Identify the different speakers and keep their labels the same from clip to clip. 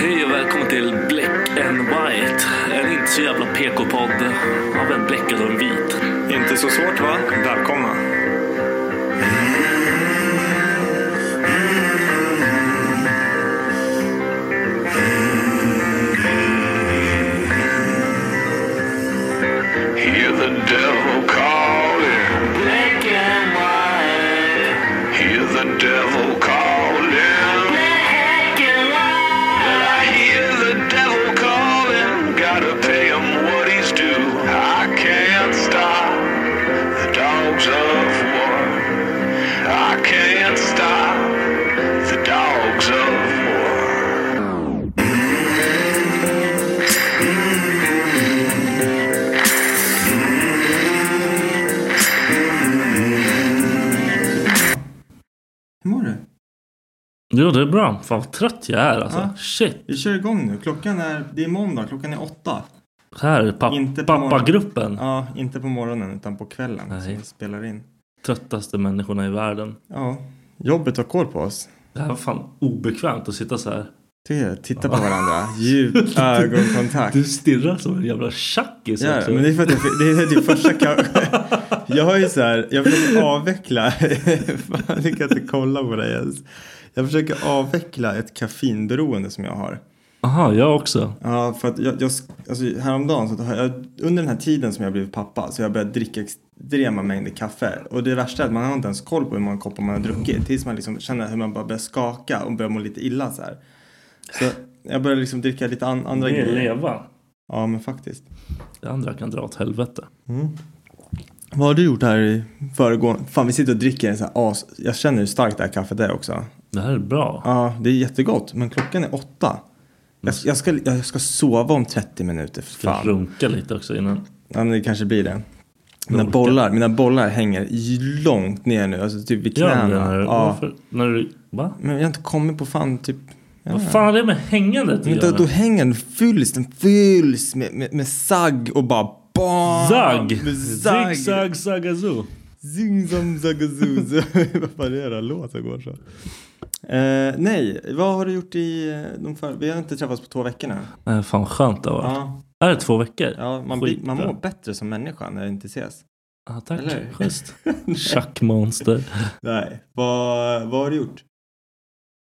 Speaker 1: Hej och välkommen till Black and White. En inte så jävla PK-podd av en bläckad och en vit.
Speaker 2: Inte så svårt va? Välkomna.
Speaker 3: Hear the devil calling. Black and white. Hear the devil calling. Black and white. I hear the devil calling. Gotta pay him what he's due. I can't stop the dogs of war. I can't stop the dogs of war.
Speaker 2: Hur mår du?
Speaker 1: Jo, det är bra. Fan vad trött jag är alltså.
Speaker 2: Ja.
Speaker 1: Shit.
Speaker 2: Vi kör igång nu. Klockan är... Det är måndag. Klockan är åtta.
Speaker 1: Här är
Speaker 2: Inte
Speaker 1: papp-
Speaker 2: på morgonen.
Speaker 1: pappagruppen.
Speaker 2: Ja, inte på morgonen utan på kvällen.
Speaker 1: Nej.
Speaker 2: Så vi spelar in.
Speaker 1: Tröttaste människorna i världen.
Speaker 2: Ja, jobbet har koll på oss.
Speaker 1: Det här var fan obekvämt att sitta så här.
Speaker 2: Det, titta på varandra. Djup ögonkontakt.
Speaker 1: Du stirrar som en jävla tjackis
Speaker 2: Ja,
Speaker 1: också.
Speaker 2: men det är för att jag, fick- det är typ första kanske. Jag har ju så här, jag försöker avveckla. Fan, jag kan inte kolla på dig ens. Jag försöker avveckla ett koffeinberoende som jag har.
Speaker 1: Aha, jag också.
Speaker 2: Ja, för att jag, jag alltså häromdagen, så att jag, under den här tiden som jag blivit pappa så har jag börjat dricka extrema mängder kaffe. Och det värsta är att man har inte ens koll på hur många koppar man har druckit tills man liksom känner hur man bara börjar skaka och börjar må lite illa så här. Så jag börjar liksom dricka lite an, andra
Speaker 1: Det är
Speaker 2: grejer.
Speaker 1: leva.
Speaker 2: Ja, men faktiskt.
Speaker 1: Det andra kan dra åt helvete.
Speaker 2: Vad har du gjort här i föregående? Fan, vi sitter och dricker en sån här as... Jag känner hur starkt det här kaffet är också.
Speaker 1: Det här är bra.
Speaker 2: Ja, det är jättegott, men klockan är åtta. Jag, jag, ska, jag ska sova om 30 minuter, för
Speaker 1: Ska
Speaker 2: fan.
Speaker 1: runka lite också innan.
Speaker 2: Ja, men det kanske blir det. Mina
Speaker 1: Orkar.
Speaker 2: bollar, mina bollar hänger långt ner nu, alltså typ vid
Speaker 1: Jag
Speaker 2: knäna.
Speaker 1: menar,
Speaker 2: Ja,
Speaker 1: varför? När du... Va?
Speaker 2: men jag har inte kommit på fan typ... jag vet
Speaker 1: Vad fan har det med hängandet att
Speaker 2: Men då,
Speaker 1: göra?
Speaker 2: då hänger den fylls, den fylls med, med, med sagg och bara bam!
Speaker 1: Zag!
Speaker 2: Med
Speaker 1: Zig,
Speaker 2: Zag!
Speaker 1: zag, zagazoo.
Speaker 2: Zing som zagazuzu. Vad fan är det här låten går så? Eh, nej, vad har du gjort i eh, de för... Vi har inte träffats på två veckor nu.
Speaker 1: Nej, Eh, fan skönt det var.
Speaker 2: Ja,
Speaker 1: Är det två veckor?
Speaker 2: ja man, blir, man
Speaker 1: Skitbra.
Speaker 2: mår bättre som människa när det inte ses.
Speaker 1: Ah, tack.
Speaker 2: Eller hur?
Speaker 1: Schysst. Schackmonster.
Speaker 2: Nej, vad, vad har du gjort?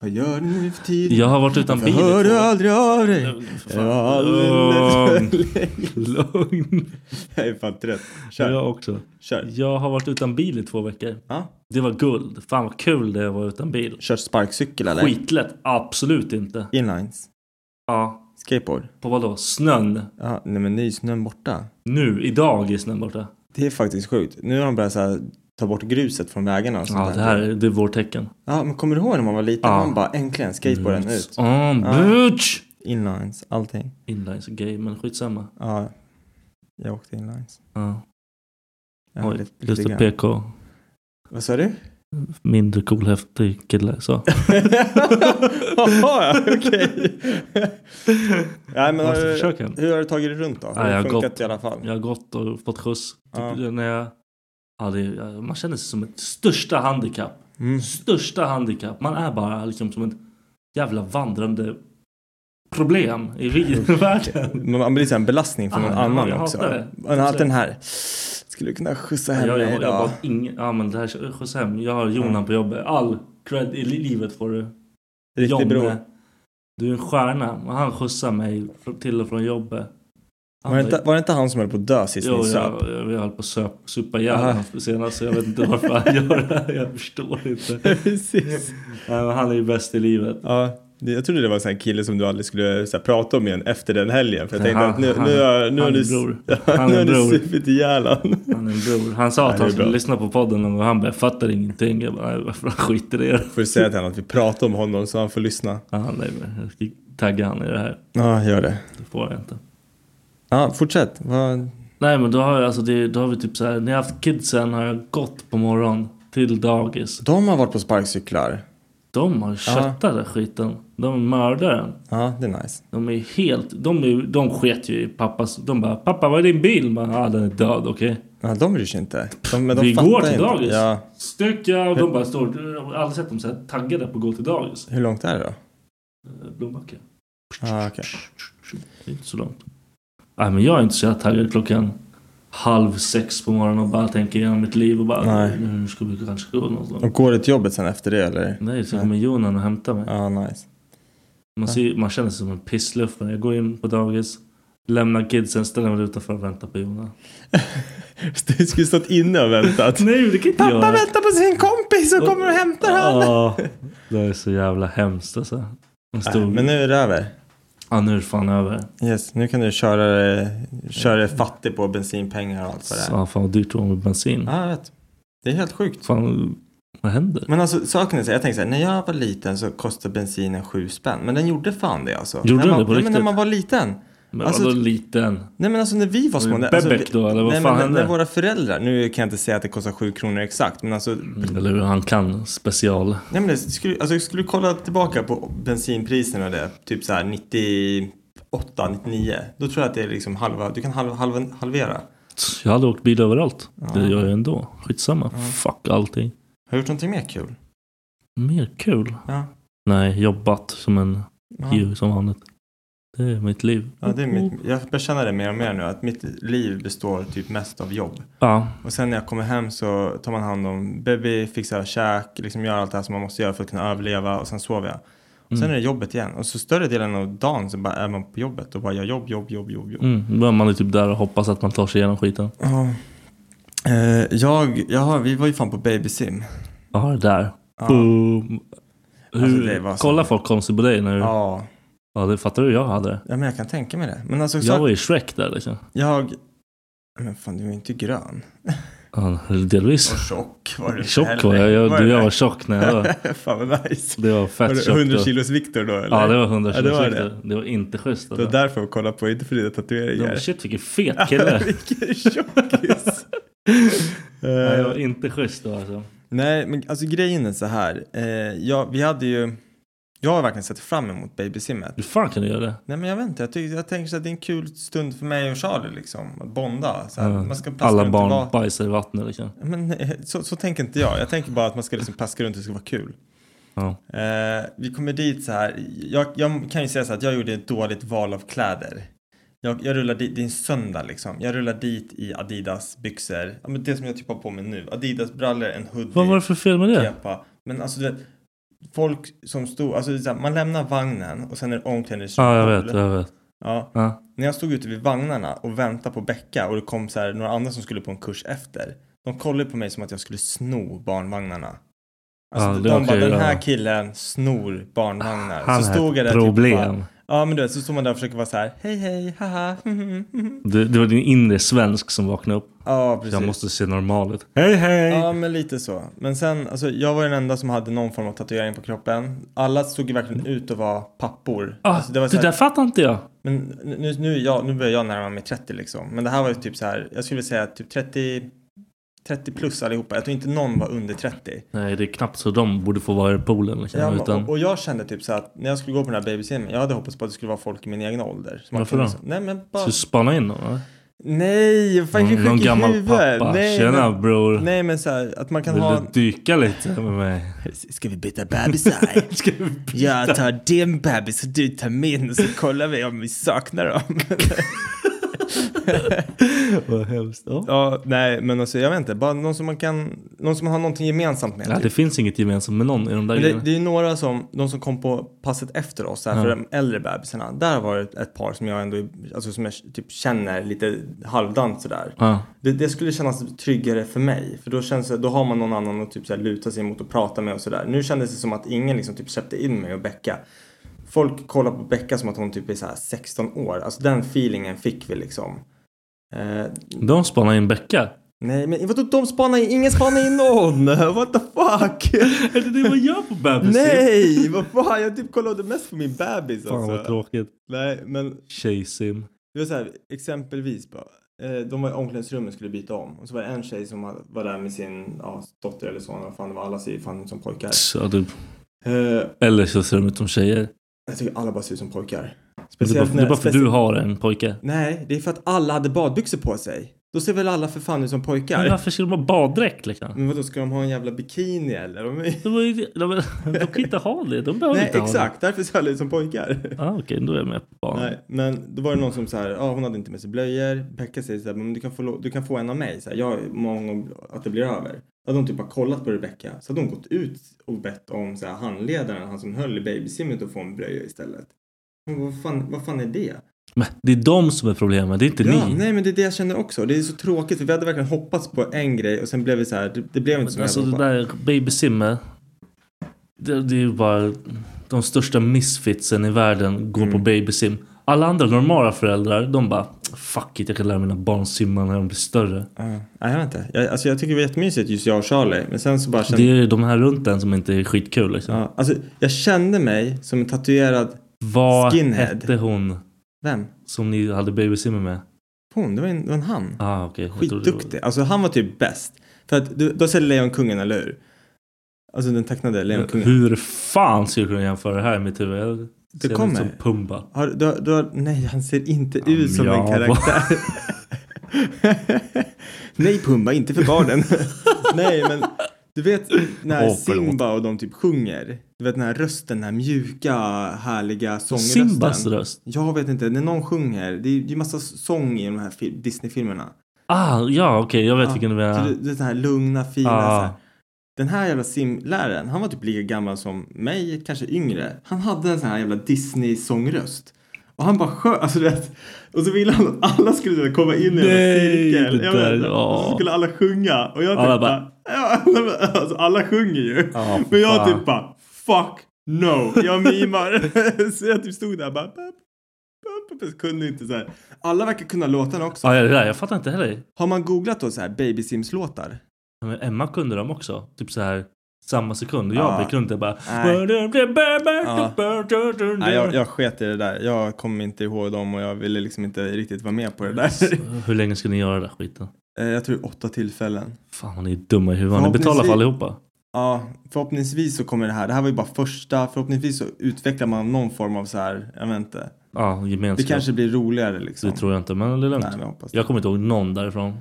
Speaker 2: Vad gör du nu för tiden?
Speaker 1: Jag har varit utan
Speaker 2: Varför
Speaker 1: bil i
Speaker 2: hör
Speaker 1: två
Speaker 2: du
Speaker 1: veckor.
Speaker 2: aldrig av dig?
Speaker 1: Nej, för fan.
Speaker 2: Jag har alldeles
Speaker 1: Lugn.
Speaker 2: för länge-
Speaker 1: Lugn.
Speaker 2: Jag är fan trött. Kör,
Speaker 1: Jag också.
Speaker 2: kör.
Speaker 1: Jag har varit utan bil i två veckor.
Speaker 2: Ja.
Speaker 1: Det var guld. Fan vad kul det var utan bil.
Speaker 2: Kör sparkcykel eller?
Speaker 1: Skitlätt. Absolut inte.
Speaker 2: Inlines.
Speaker 1: Ja.
Speaker 2: Skateboard.
Speaker 1: På vad då? Snön.
Speaker 2: Ja, nej men nu är snön borta.
Speaker 1: Nu, idag är snön borta.
Speaker 2: Det är faktiskt sjukt. Nu har de börjat så här, ta bort gruset från vägarna och sånt
Speaker 1: Ja,
Speaker 2: där.
Speaker 1: det här är, det är vårt tecken.
Speaker 2: Ja, men kommer du ihåg när man var liten?
Speaker 1: Ja.
Speaker 2: Man bara äntligen skateboarden ut.
Speaker 1: on, bitch!
Speaker 2: Inlines, allting.
Speaker 1: Inlines är gay, men skitsamma.
Speaker 2: Ja, jag åkte inlines.
Speaker 1: Ja.
Speaker 2: Ja,
Speaker 1: Oj,
Speaker 2: lite-
Speaker 1: just
Speaker 2: lite
Speaker 1: det,
Speaker 2: grann.
Speaker 1: PK.
Speaker 2: Vad sa du?
Speaker 1: Mindre cool, häftig kille. Så.
Speaker 2: Jaha, ja, okej. Nej, men har
Speaker 1: Måste
Speaker 2: du-
Speaker 1: försöka.
Speaker 2: hur har du tagit dig runt då? Har
Speaker 1: Ja, jag
Speaker 2: det
Speaker 1: har
Speaker 2: funkat
Speaker 1: gått.
Speaker 2: i alla fall?
Speaker 1: Jag har gått och fått skjuts.
Speaker 2: Ja.
Speaker 1: Typ, när jag, ja, det, är- man känner sig som ett största handikapp.
Speaker 2: Mm.
Speaker 1: Största handikapp. Man är bara liksom som ett jävla vandrande problem i vi- världen.
Speaker 2: Men Man blir så här en belastning för
Speaker 1: Ah,
Speaker 2: någon
Speaker 1: ja,
Speaker 2: annan
Speaker 1: jag
Speaker 2: också.
Speaker 1: hatar det.
Speaker 2: Man har alltid den här. Skulle du kunna skjutsa hem
Speaker 1: Jag, jag,
Speaker 2: mig
Speaker 1: jag, jag,
Speaker 2: idag?
Speaker 1: bara, ingen, ja, men det här skjuts hem. Jag har Jonan på jobbet. All cred i li- livet får du.
Speaker 2: Riktig bror.
Speaker 1: Du är en stjärna. Och han skjutsar mig fr- till och från jobbet. Han
Speaker 2: Var det,
Speaker 1: bara-
Speaker 2: inte, var det inte han som höll på att dö sist
Speaker 1: Jo,
Speaker 2: ni söp?
Speaker 1: jag, jag, jag höll på att söp, supa ihjäl
Speaker 2: Aha.
Speaker 1: honom senast. så Jag vet inte varför han gör det. här. Jag förstår inte.
Speaker 2: Precis.
Speaker 1: Nej, men han är ju bäst i livet.
Speaker 2: Ja, det- jag trodde det var en sån här kille som du aldrig skulle eh, så här, prata om igen efter den helgen. För jag
Speaker 1: Nej,
Speaker 2: tänkte
Speaker 1: han-
Speaker 2: att nu,
Speaker 1: han-
Speaker 2: nu, har- nu har
Speaker 1: han
Speaker 2: du,
Speaker 1: är bror.
Speaker 2: Ja,
Speaker 1: Han
Speaker 2: nu
Speaker 1: är
Speaker 2: har du
Speaker 1: bror.
Speaker 2: supit ihjäl honom.
Speaker 1: Han är en bror. Han sa
Speaker 2: Nej,
Speaker 1: att
Speaker 2: det är
Speaker 1: han skulle
Speaker 2: bra.
Speaker 1: lyssna på podden någon gång. Han bara, jag fattar ingenting. Jag bara, nej, varför han skiter i det.
Speaker 2: Får du säga till honom att vi pratar om honom så han får lyssna?
Speaker 1: Ja, Han nej, men jag ska tagga han i det här.
Speaker 2: Ja, gör det.
Speaker 1: Det får jag inte.
Speaker 2: Ja, fortsätt. Vad-
Speaker 1: Nej, men då har, jag, alltså, det, då har vi typ så här. När jag har haft kidsen har jag gått på morgonen till dagis.
Speaker 2: De har varit på sparkcyklar.
Speaker 1: De har köttat den skiten. De mördar den.
Speaker 2: Ja, det är nice.
Speaker 1: De är helt... De, är, de sket ju i pappas... De bara, pappa var är din bil? Man, ah, den är död, okej.
Speaker 2: Ja, de bryr sig inte. De, men de
Speaker 1: vi
Speaker 2: fattar
Speaker 1: går till
Speaker 2: inte.
Speaker 1: dagis.
Speaker 2: Ja.
Speaker 1: Stökiga och de bara står... Jag har aldrig sett dem så här taggade på att gå till dagis.
Speaker 2: Hur långt är det då?
Speaker 1: Eh, Blombacka.
Speaker 2: Ja, okej.
Speaker 1: Det är inte så långt. Nej, men jag är inte så jävla taggad klockan halv sex på morgonen och bara tänker igenom mitt liv och bara...
Speaker 2: Nej.
Speaker 1: Nu ska vi kanske gå någonstans.
Speaker 2: Och går det till jobbet sen efter det eller?
Speaker 1: Nej, så kommer Jonan och hämtar mig.
Speaker 2: Ja, nice.
Speaker 1: Man, ser, man känner sig som en pissluffare. Jag går in på dagis, lämnar kidsen, ställer mig utanför och väntar på Jonan.
Speaker 2: Du skulle stått inne och väntat.
Speaker 1: Nej, det kan inte
Speaker 2: Pappa
Speaker 1: göra.
Speaker 2: väntar på sin kompis och kommer och hämtar honom.
Speaker 1: Ja, det är så jävla hemskt alltså. En stor...
Speaker 2: Nej, Men nu är det över.
Speaker 1: Ja, nu är det fan över.
Speaker 2: Yes, nu kan du köra dig köra dig fattig på bensinpengar och allt vad det är.
Speaker 1: Ja, fan vad dyrt det var med bensin.
Speaker 2: Ja, jag vet. Det är helt sjukt.
Speaker 1: Fan, vad händer?
Speaker 2: Men alltså saken är så här, jag tänker så här, när jag var liten så kostade bensinen sju spänn. Men den gjorde fan det alltså.
Speaker 1: Gjorde
Speaker 2: när
Speaker 1: den
Speaker 2: man,
Speaker 1: det på
Speaker 2: nej, men när
Speaker 1: riktigt?
Speaker 2: man var liten.
Speaker 1: Men
Speaker 2: Alltså-
Speaker 1: vadå liten?
Speaker 2: Nej men alltså när vi var
Speaker 1: Var det
Speaker 2: små. alltså,
Speaker 1: Bebek
Speaker 2: vi-
Speaker 1: då, eller vad
Speaker 2: nej,
Speaker 1: fan
Speaker 2: men, när-
Speaker 1: hände?
Speaker 2: När våra föräldrar, nu kan jag inte säga att det kostar sju kronor exakt. Men alltså
Speaker 1: Eller hur, han kan special.
Speaker 2: Nej men det skulle, alltså, skulle du kolla tillbaka på bensinpriserna och det, typ så här 98, 99. Då tror jag att det är liksom halva, du kan halva, halva, halvera.
Speaker 1: Jag hade åkt bil överallt. Det gör jag ändå. Skitsamma. Fuck allting.
Speaker 2: Har du gjort någonting mer kul?
Speaker 1: Mer kul?
Speaker 2: Ja.
Speaker 1: Nej, jobbat som en
Speaker 2: Ja.
Speaker 1: hiu som vanligt. Det är mitt liv.
Speaker 2: Ja, det är mitt, jag börjar känna det mer och mer nu att mitt liv består typ mest av jobb.
Speaker 1: Ja,
Speaker 2: Och sen när jag kommer hem så tar man hand om baby, fixar käk, liksom gör allt det här som man måste göra för att kunna överleva och sen sover jag. Och
Speaker 1: Mm.
Speaker 2: sen är det jobbet igen. Och så större delen av dagen så bara är man på jobbet och bara gör jobb, jobb, jobb, jobb, jobb.
Speaker 1: mm. Då är man är typ där och hoppas att man tar sig igenom skiten.
Speaker 2: Ja. Eh, jag, jag har, vi var ju fan på babysim.
Speaker 1: Ja, det där.
Speaker 2: Ja.
Speaker 1: Boom. Hur,
Speaker 2: Alltså, det var så-
Speaker 1: Kolla folk konstigt på dig när du... Ja.
Speaker 2: Ja.
Speaker 1: det fattar du jag hade det.
Speaker 2: ja, men jag kan tänka mig det. Men alltså,
Speaker 1: Jag
Speaker 2: jag...
Speaker 1: var ju Shrek där liksom.
Speaker 2: jag... Men fan, du är ju inte grön.
Speaker 1: Ja, delvis.
Speaker 2: Och tjock var du
Speaker 1: Tjock var jag. Jag, du, jag var tjock när jag var...
Speaker 2: tjock. fan vad nice.
Speaker 1: Det var fett
Speaker 2: Var det
Speaker 1: tjock
Speaker 2: 100
Speaker 1: då.
Speaker 2: kilos Viktor då eller?
Speaker 1: Ja, det var 100 kilo.
Speaker 2: Ja, det var
Speaker 1: det.
Speaker 2: det.
Speaker 1: det var inte schysst.
Speaker 2: Det var
Speaker 1: Alltså.
Speaker 2: därför jag kollade på, inte för dina
Speaker 1: De bara,
Speaker 2: tatueringar.
Speaker 1: shit vilken fet kille.
Speaker 2: Vilken tjockis.
Speaker 1: Ja, det
Speaker 2: Eh,
Speaker 1: var inte schysst då alltså.
Speaker 2: Nej, men alltså grejen är så här. Eh, jag, vi hade ju... Jag har verkligen sett fram emot babysimmet.
Speaker 1: Hur fan kan du göra det?
Speaker 2: Nej men jag vet inte, jag, tycker, jag tänker så att det är en kul stund för mig och Charlie liksom. Att bonda. Så här,
Speaker 1: Ja,
Speaker 2: man ska plaska
Speaker 1: Alla
Speaker 2: runt
Speaker 1: barn
Speaker 2: och vara...
Speaker 1: bajsar i vattnet liksom.
Speaker 2: Men eh, så, så tänker inte jag. Jag tänker bara att man ska liksom plaska runt och det ska vara kul.
Speaker 1: Ja.
Speaker 2: Eh, vi kommer dit så här. Jag, jag kan ju säga så här att jag gjorde ett dåligt val av kläder. Jag, jag rullar dit, det är en söndag liksom. Jag rullar dit i Adidas byxor. Ja, men det som jag typ har på mig nu. Adidas brallor, en hoodie.
Speaker 1: Vad var det för fel med det?
Speaker 2: Kepa. Men alltså du vet, folk som stod, alltså det är så här, man lämnar vagnen och sen är det omklädningsrum.
Speaker 1: Ja, jag vet. Jag vet.
Speaker 2: Ja.
Speaker 1: Ja.
Speaker 2: När jag stod ute vid vagnarna och väntade på Becka och det kom så här några andra som skulle på en kurs efter. De kollade på mig som att jag skulle sno barnvagnarna.
Speaker 3: Alltså,
Speaker 2: Ja,
Speaker 3: de
Speaker 2: det
Speaker 3: de bara,
Speaker 2: okej,
Speaker 3: den här
Speaker 2: ja.
Speaker 3: killen snor barnvagnar.
Speaker 2: Han
Speaker 3: så
Speaker 2: är
Speaker 3: stod jag där
Speaker 2: problem.
Speaker 3: Typ, och bara, ja men du vet, så stod man där och försökte vara så här. Hej hej, haha. mhm, mhm."
Speaker 2: Det, det var din inre svensk som vaknade upp.
Speaker 3: Ja, precis.
Speaker 2: Jag måste se normal ut. Hej hej!
Speaker 3: Ja men lite så. Men sen, alltså jag var den enda som hade någon form av tatuering på kroppen. Alla såg ju verkligen ut att vara pappor.
Speaker 2: Ah,
Speaker 3: Alltså, var
Speaker 2: det där fattar inte jag.
Speaker 3: Men nu, nu, ja, nu börjar jag närma mig 30 liksom. Men det här var ju typ så här, jag skulle säga typ 30, 30 plus allihopa. Jag tror inte någon var under 30.
Speaker 2: Nej, det är knappt så de borde få vara i poolen. Liksom,
Speaker 3: Ja, men-
Speaker 2: utan...
Speaker 3: och, och jag kände typ så här att när jag skulle gå på den här babysimmen, jag hade hoppats på att det skulle vara folk i min egen ålder. Som man
Speaker 2: Varför
Speaker 3: kunde-
Speaker 2: då?
Speaker 3: Nej men
Speaker 2: Ska
Speaker 3: bara...
Speaker 2: du spana in dem? eller? Mm.
Speaker 3: Nej, vad fan är
Speaker 2: Någon- någon
Speaker 3: sjuk i
Speaker 2: gammal
Speaker 3: huvudet?
Speaker 2: pappa.
Speaker 3: Nej,
Speaker 2: Tjena,
Speaker 3: men,
Speaker 2: bror.
Speaker 3: Nej men så här, att man kan
Speaker 2: Vill
Speaker 3: ha...
Speaker 2: du dyka lite med mig?
Speaker 3: Ska vi byta bebisar? Jag tar din bebis och du tar min och så kollar vi om vi saknar dem.
Speaker 2: Vad hemskt. Ja.
Speaker 3: Ja, nej men alltså jag vet inte, bara någon som man kan, någon som man har någonting gemensamt med.
Speaker 2: Ja,
Speaker 3: typ.
Speaker 2: det finns inget gemensamt med någon i de där
Speaker 3: Men det,
Speaker 2: grejerna.
Speaker 3: det är ju några som, de som kom på passet efter oss, så här,
Speaker 2: Ja.
Speaker 3: för de äldre bebisarna. Där var det ett par som jag ändå, alltså som jag typ känner lite halvdant sådär.
Speaker 2: Ja.
Speaker 3: Det, det skulle kännas tryggare för mig, för då känns det, då har man någon annan att typ så här luta sig mot och prata med och sådär. Nu kändes det som att ingen liksom typ släppte in mig och Becka. Folk kollar på Becka som att hon typ är så här 16 år. Alltså den feelingen fick vi liksom. Eh,
Speaker 2: De spanar in Becka.
Speaker 3: nej men vadå de spanar in, ingen spanar in någon! What the fuck!
Speaker 2: Eller det var jag på bebisen.
Speaker 3: Nej, vad fan, jag typ kollade mest på min bebis
Speaker 2: Fan
Speaker 3: alltså.
Speaker 2: vad tråkigt.
Speaker 3: Nej, men
Speaker 2: Tjejsim.
Speaker 3: det var så här, exempelvis bara. eh, De var i omklädningsrummet och skulle byta om. Och så var det en tjej som hade- var där med sin ja, dotter eller son. Vad fan, det var alla ser ju fan ut som pojkar.
Speaker 2: Ja, du.
Speaker 3: Eh,
Speaker 2: typ. Eller så ser de ut som tjejer.
Speaker 3: Jag tycker alla bara ser ut som pojkar.
Speaker 2: Men Det är bara, det är bara för
Speaker 3: speci-
Speaker 2: du har en pojke.
Speaker 3: Nej, det är för att alla hade badbyxor på sig. Då ser väl alla för fan ut som pojkar?
Speaker 2: Men varför ska de ha baddräkt liksom?
Speaker 3: Men vadå, ska de ha en jävla bikini eller? De, är-
Speaker 2: De, var ju- de, de, de kan inte ha det. De behöver
Speaker 3: Nej,
Speaker 2: inte ha
Speaker 3: exakt. Därför ser alla ut som pojkar.
Speaker 2: det. Ah, Okej, då är jag med på banan.
Speaker 3: Nej, men då var det någon som så här, ja hon hade inte med sig blöjor. Pekka säger så här, men du kan få, lo- du kan få en av mig. Så här, jag har många om att det blir över. Då hade hon typ bara kollat på Rebecca. Så hade hon gått ut och bett om så här, handledaren, han som höll i babysimmet, att få en blöja istället. Men vad fan, vad fan är det?
Speaker 2: Men det är de som är problemet, det är inte
Speaker 3: Ja,
Speaker 2: ni.
Speaker 3: nej men det är det jag känner också. Det är så tråkigt för vi hade verkligen hoppats på en grej och sen blev det så här, det, det blev inte som
Speaker 2: Alltså
Speaker 3: jag
Speaker 2: det
Speaker 3: hoppades.
Speaker 2: där babysimmet. Det, det är ju bara de största misfitsen i världen går på babysim. Alla andra normala föräldrar, de bara fuck it, jag kan lära mina barn simma när de blir större.
Speaker 3: Ja, nej, jag vet inte. Jag, alltså jag tycker det var jättemysigt just jag och Charlie. Men sen så bara kände
Speaker 2: Det är ju de här runt en som inte är skitkul liksom.
Speaker 3: ja, alltså, jag kände mig som en tatuerad,
Speaker 2: Vad
Speaker 3: Skinhead.
Speaker 2: hette hon
Speaker 3: vem?
Speaker 2: som ni hade babysimmer med?
Speaker 3: Hon, det var en, det var en han.
Speaker 2: Ah, okay.
Speaker 3: Skitduktig. Alltså han var typ bäst. För att du, du har sett Lejonkungen, eller hur? Alltså den tecknade Lejonkungen.
Speaker 2: Hur fan ska jag kunna jämföra det här i mitt huvud? Jag ser ut
Speaker 3: kommer.
Speaker 2: som Pumba.
Speaker 3: Har, du, har- du har, nej, han ser inte ut som
Speaker 2: ja,
Speaker 3: en karaktär. nej Pumba, inte för barnen. nej, men du vet när
Speaker 2: Åh, förlåt.
Speaker 3: Simba och de typ sjunger. Du vet den här rösten, den här mjuka, härliga sångrösten.
Speaker 2: Simbas röst.
Speaker 3: Jag vet inte, när någon sjunger. Det är ju massa sång i de här fil- Disney-filmerna.
Speaker 2: Ah, ja okej, jag vet
Speaker 3: Ja,
Speaker 2: vilken du
Speaker 3: Så
Speaker 2: menar.
Speaker 3: det, det är den här lugna, fina.
Speaker 2: Ja.
Speaker 3: Så här. Den här jävla simläraren, han var typ lika gammal som mig, kanske yngre. Han hade en sån här jävla Disney-sångröst. Och han bara sjöng, alltså du vet. Och så ville han att alla skulle komma in i en
Speaker 2: Nej,
Speaker 3: jävla cirkel.
Speaker 2: det
Speaker 3: Jag
Speaker 2: där,
Speaker 3: vet, och
Speaker 2: ja.
Speaker 3: så skulle alla sjunga. Och jag
Speaker 2: Alla
Speaker 3: tänkte
Speaker 2: bara-
Speaker 3: bara, ja, alla, bara- alltså, alla sjunger ju.
Speaker 2: Ja,
Speaker 3: Men jag
Speaker 2: fan.
Speaker 3: typ bara, fuck no, jag mimar. så jag typ stod där och bara, "Pap, pap, pap", så kunde inte så här. Alla verkar kunna låtarna också.
Speaker 2: Ah, ja, det där, jag fattar inte heller.
Speaker 3: Har man googlat då så här Baby Sims-låtar?
Speaker 2: Ja, Men Emma kunde dem också. Typ så här samma sekund. Och jag
Speaker 3: Ja.
Speaker 2: kunde inte bara...
Speaker 3: Nej.
Speaker 2: Ja.
Speaker 3: Nej, jag, jag sket i det där. Jag kom inte ihåg dem och jag ville liksom inte riktigt vara med på det där.
Speaker 2: Hur länge ska ni göra den där skiten?
Speaker 3: Eh, jag tror åtta tillfällen.
Speaker 2: Fan, ni är dumma i huvudet. Ni betalar för
Speaker 3: Förhoppningsvis-
Speaker 2: allihopa.
Speaker 3: Ja, förhoppningsvis så kommer det här. Det här var ju bara första. Förhoppningsvis så utvecklar man någon form av så här, jag vet inte.
Speaker 2: Ja,
Speaker 3: Det
Speaker 2: gemenskap.
Speaker 3: kanske blir roligare liksom.
Speaker 2: Det tror jag inte, men det är lugnt.
Speaker 3: Nej, men jag hoppas det.
Speaker 2: jag kommer inte ihåg någon därifrån.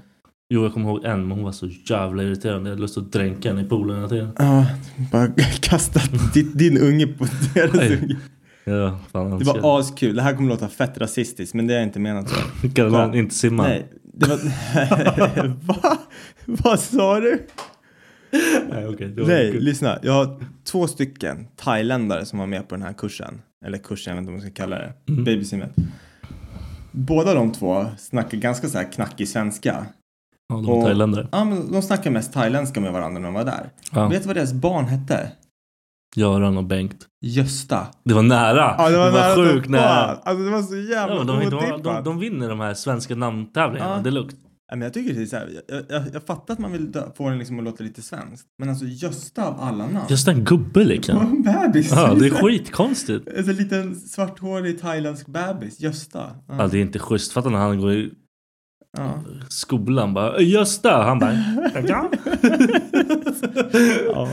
Speaker 2: Jo, jag kommer ihåg en, men hon var så jävla irriterande. Jag hade lust att dränka henne i poolen hela tiden.
Speaker 3: Ja, bara kasta din, din unge på deras
Speaker 2: Nej.
Speaker 3: unge.
Speaker 2: Ja, fan,
Speaker 3: Det var askul. Det här kommer låta fett rasistiskt men det är inte menat så.
Speaker 2: Kan någon inte simma?
Speaker 3: Nej, det var... Va? Vad sa du?
Speaker 2: Nej, okej. det var
Speaker 3: Nej,
Speaker 2: kul.
Speaker 3: lyssna. Jag har två stycken thailändare som var med på den här kursen. Eller kursen, jag vet inte vad man ska kalla det.
Speaker 4: Mm.
Speaker 3: Babysimmet. Båda de två snackar ganska så här knackig svenska.
Speaker 4: Ja, de är thailändare.
Speaker 2: Ja, men de snackade mest thailändska med varandra när de var där.
Speaker 4: Ja.
Speaker 2: Vet du vad deras barn hette?
Speaker 4: Göran och Bengt.
Speaker 2: Gösta.
Speaker 4: Det var nära.
Speaker 2: Ja, det var, nära som
Speaker 4: sjukt
Speaker 2: fan.
Speaker 4: nära.
Speaker 2: Alltså, det var så jävla
Speaker 4: Ja, de, de,
Speaker 2: otippat.
Speaker 4: de, de vinner de här svenska namntävlingarna.
Speaker 2: Ja.
Speaker 4: Det är lugnt.
Speaker 2: Ja, men jag tycker det är så här, jag, jag, jag fattar att man vill dö, få den liksom att låta lite svensk. Men alltså Gösta av alla namn.
Speaker 4: Just en gubbe liksom.
Speaker 2: Ja, en bebis.
Speaker 4: Ja, det är skitkonstigt.
Speaker 2: Alltså en liten svarthårig thailändsk bebis, Gösta. Ja.
Speaker 4: Ja, det är inte schysst. Fattar när han går i
Speaker 2: Ja.
Speaker 4: skolan bara "Ö, Gösta! Han bara ja.
Speaker 2: Ja.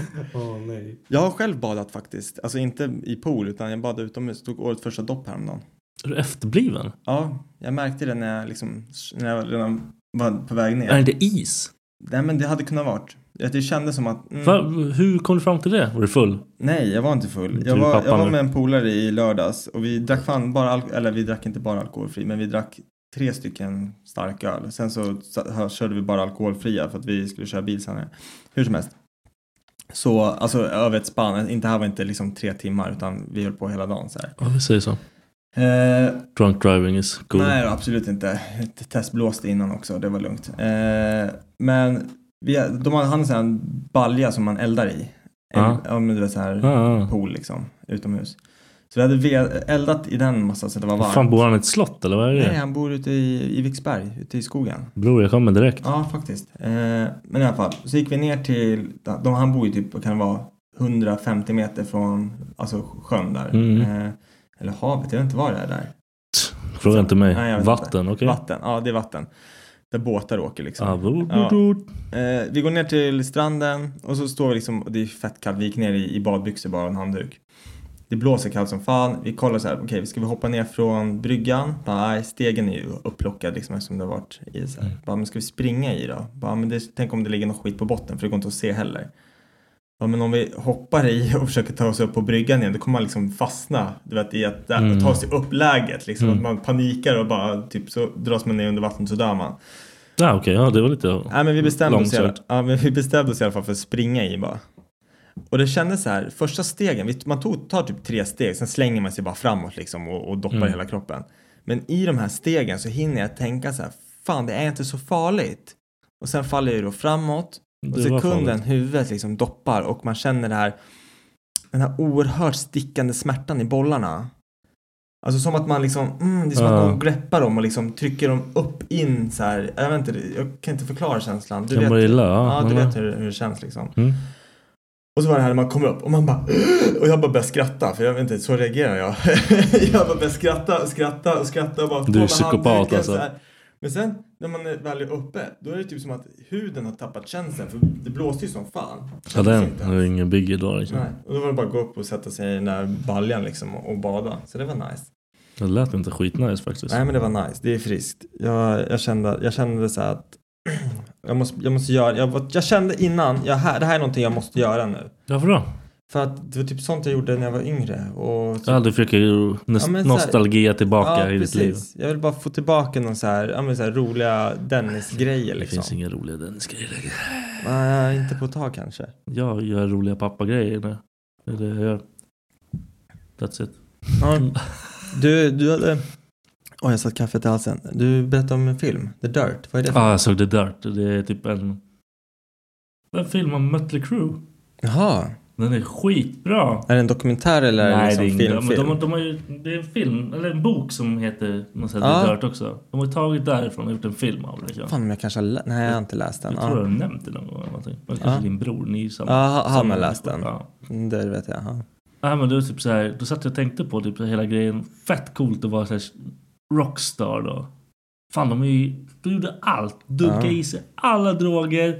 Speaker 2: Jag har själv badat faktiskt. Alltså inte i pool utan jag badade utomhus. Tog årets första dopp häromdagen.
Speaker 4: Är du efterbliven?
Speaker 2: Ja, jag märkte det när jag liksom, när jag redan var på väg ner.
Speaker 4: Är det inte is?
Speaker 2: Nej men det hade kunnat varit. Det kändes som att... mm,
Speaker 4: Va? Hur kom du fram till det? Var du full?
Speaker 2: Nej, jag var inte full. Jag
Speaker 4: Tur
Speaker 2: var,
Speaker 4: pappan
Speaker 2: jag var
Speaker 4: nu.
Speaker 2: med en polare i lördags och vi drack fan bara alko- eller vi drack inte bara alkoholfri, men vi drack tre stycken stark öl. Sen så sa- hö- körde vi bara alkoholfria för att vi skulle köra bil senare. Hur som helst. Så alltså över ett spann, inte det här var inte liksom tre timmar utan vi höll på hela dagen så här.
Speaker 4: Ja, vi säger så.
Speaker 2: Eh,
Speaker 4: Drunk driving is cool.
Speaker 2: Nej då, absolut inte. Ett test blåste innan också, det var lugnt. Eh, men vi, de hade, han hade så här en balja som man eldar i. En,
Speaker 4: Ja.
Speaker 2: ja, men du vet så här
Speaker 4: Ja, ja.
Speaker 2: pool liksom, utomhus. Så vi hade ve- eldat i den massa så det var varmt.
Speaker 4: Fan, bor han i ett slott eller vad är det?
Speaker 2: Nej, han bor ute i, i Viksberg, ute i skogen.
Speaker 4: Bror, jag kommer direkt.
Speaker 2: Ja, faktiskt. Eh, men i alla fall, så gick vi ner till, de, han bor ju typ, vad kan det vara, 150 meter från alltså, sjön där.
Speaker 4: Mm.
Speaker 2: Eh, eller havet, jag vet inte vad det är där.
Speaker 4: Fråga inte mig.
Speaker 2: Nej, jag vet
Speaker 4: Vatten,
Speaker 2: inte.
Speaker 4: okej?
Speaker 2: Vatten, ja det är vatten. Där båtar åker liksom.
Speaker 4: Ja, bror, bror,
Speaker 2: Ja.
Speaker 4: bror.
Speaker 2: Eh, vi går ner till stranden och så står vi liksom, och det är fett kallt, vi gick ner i, i badbyxor bara och en handduk. Det blåser kallt som fan, vi kollar så här, okej ska vi hoppa ner från bryggan? Bara, Nej, stegen är ju upplockad liksom eftersom det har varit i så här. Bara, men ska vi springa i då? Bara, men det, tänk om det ligger något skit på botten för det går inte att se heller. Ja, men om vi hoppar i och försöker ta oss upp på bryggan igen, då kommer man liksom fastna. Du vet, i att där,
Speaker 4: Mm.
Speaker 2: ta sig upp läget. Liksom,
Speaker 4: Mm.
Speaker 2: att man panikar och bara typ så dras man ner under vattnet så dör man.
Speaker 4: Ja, okej. Ja, det var lite...
Speaker 2: Nej, men vi bestämde, oss i, alla-
Speaker 4: Långsökt.
Speaker 2: ja, men vi bestämde oss i alla fall för att springa i bara. Och det kändes så här, första stegen, vi- man tog, tar typ tre steg, sen slänger man sig bara framåt liksom och, och doppar
Speaker 4: Mm.
Speaker 2: hela kroppen. Men i de här stegen så hinner jag tänka så här, fan det är inte så farligt. Och sen faller jag ju då framåt och
Speaker 4: Det var
Speaker 2: sekunden
Speaker 4: farligt.
Speaker 2: huvudet liksom doppar och man känner det här, den här oerhört stickande smärtan i bollarna. Alltså som att man liksom, mm, det är som
Speaker 4: Ja.
Speaker 2: att någon greppar dem och liksom trycker dem upp in så här. Jag vet inte, jag kan inte förklara känslan. Du
Speaker 4: Jag
Speaker 2: vet,
Speaker 4: mår illa, ja.
Speaker 2: ja, du
Speaker 4: Ja,
Speaker 2: vet hur, hur det känns liksom.
Speaker 4: Mm.
Speaker 2: Och så var det här när man kom upp och man bara och jag bara började skratta för jag vet inte, så reagerar jag. jag bara började skratta och skratta och skratta och bara
Speaker 4: Du är
Speaker 2: på med
Speaker 4: psykopat,
Speaker 2: handduken
Speaker 4: alltså.
Speaker 2: så här. Men sen när man är väl är uppe då är det typ som att huden har tappat känseln för det blåste ju som fan.
Speaker 4: Ja,
Speaker 2: Kändes
Speaker 4: den.
Speaker 2: inte.
Speaker 4: Det är ingen bygg idag liksom.
Speaker 2: Nej. Och då var det bara att gå upp och sätta sig i den där baljan liksom och, och bada. Så det var nice.
Speaker 4: Det lät inte skitnice faktiskt.
Speaker 2: Nej men det var nice, det är friskt. Jag, jag, kände, jag kände så här att jag måste, jag måste göra, jag, var- jag kände innan, jag, här- det här är någonting jag måste göra nu.
Speaker 4: Varför då?
Speaker 2: För att det var typ sånt jag gjorde när jag var yngre. Och
Speaker 4: Ja, du försöker ju
Speaker 2: Ja,
Speaker 4: nost-
Speaker 2: men så här-
Speaker 4: nostalgia tillbaka
Speaker 2: ja,
Speaker 4: i ditt liv.
Speaker 2: precis. Jag vill bara få tillbaka någon så här, ja, men så här roliga Dennis-grejer
Speaker 4: Det
Speaker 2: liksom.
Speaker 4: finns inga roliga Dennis-grejer längre.
Speaker 2: Nej, inte på ett tag kanske.
Speaker 4: Jag gör roliga pappagrejer nu. Det är det jag gör. That's it.
Speaker 2: Ja. Du, du hade... Oj, jag satt kaffet i halsen. Du berättade om en film, The Dirt. Vad är det för?
Speaker 4: Ja, jag såg The Dirt. Det är typ en... En film om Mötley Crüe.
Speaker 2: Jaha.
Speaker 4: Den är skitbra.
Speaker 2: Är det en dokumentär eller är det
Speaker 4: Nej,
Speaker 2: liksom
Speaker 4: det är
Speaker 2: film,
Speaker 4: inget. Men
Speaker 2: film?
Speaker 4: de, har- de har ju, det är en film, eller en bok som heter något sånt här
Speaker 2: Ja.
Speaker 4: The Dirt också. De har ju tagit därifrån och gjort en film av det. Ja.
Speaker 2: Fan om jag kanske har lä- Nej, jag har inte läst den.
Speaker 4: Jag tror jag har nämnt det någon gång eller någonting. Men kanske
Speaker 2: Ja.
Speaker 4: din bror, ni är ju samma.
Speaker 2: Ja, ha- han
Speaker 4: samma
Speaker 2: har läst den.
Speaker 4: Ja.
Speaker 2: Mm, Det vet jag. Ja.
Speaker 4: Nej men det var typ så här, då satt jag och tänkte på typ hela grejen. Fett coolt att vara så här rockstar då. Fan de är ju, de gjorde allt. Dunka
Speaker 2: Ja.
Speaker 4: i sig alla droger.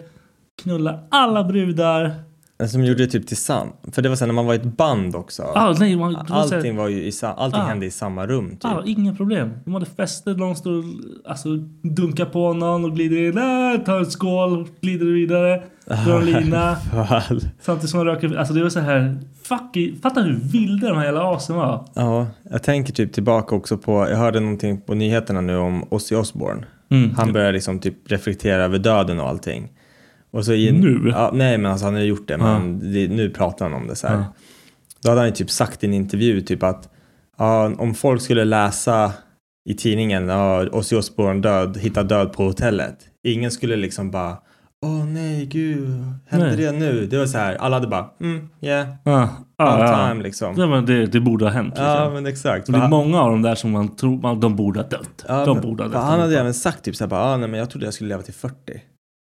Speaker 4: Knulla alla brudar.
Speaker 2: Men Som gjorde det typ tillsammans. För det var sen när man var i ett band också.
Speaker 4: Ah, nej, man, det var så här-
Speaker 2: allting var ju i, sa- allting
Speaker 4: Ah.
Speaker 2: hände i samma rum typ.
Speaker 4: Ah, inga problem. De hade fester, någon står och alltså, dunkar på någon och glider in. Äh, tar en skål, glider vidare. Drar en lina.
Speaker 2: Fan.
Speaker 4: Samtidigt som de röker. Alltså det var så här. Fuck, i- fatta hur vilda de här jävla asen var.
Speaker 2: Ja, jag tänker typ tillbaka också på, jag hörde någonting på nyheterna nu om Ozzy Osbourne.
Speaker 4: Mm.
Speaker 2: Han börjar liksom typ reflektera över döden och allting. Och så i,
Speaker 4: Nu?
Speaker 2: Ja, nej men alltså han har ju gjort det, men det, nu pratar han om det så här.
Speaker 4: Ja.
Speaker 2: Då hade han ju typ sagt i en intervju typ att ja, om folk skulle läsa i tidningen, ja, Ozzy Osbourne död, hitta död på hotellet. Ingen skulle liksom bara Åh nej, gud, hände
Speaker 5: Nej.
Speaker 2: det nu? Det var så här, alla hade bara, mm, yeah,
Speaker 5: Ja, ja,
Speaker 2: all
Speaker 5: ja.
Speaker 2: time liksom.
Speaker 5: Ja, men det, det borde ha hänt.
Speaker 2: Ja, men exakt.
Speaker 5: Och det är
Speaker 2: Va-
Speaker 5: många av dem där som man tror man, de borde ha dött.
Speaker 2: Ja,
Speaker 5: de
Speaker 2: men-
Speaker 5: borde ha
Speaker 2: för
Speaker 5: dött.
Speaker 2: Han hade även sagt typ såhär bara, ah, nej men jag trodde jag skulle leva till 40.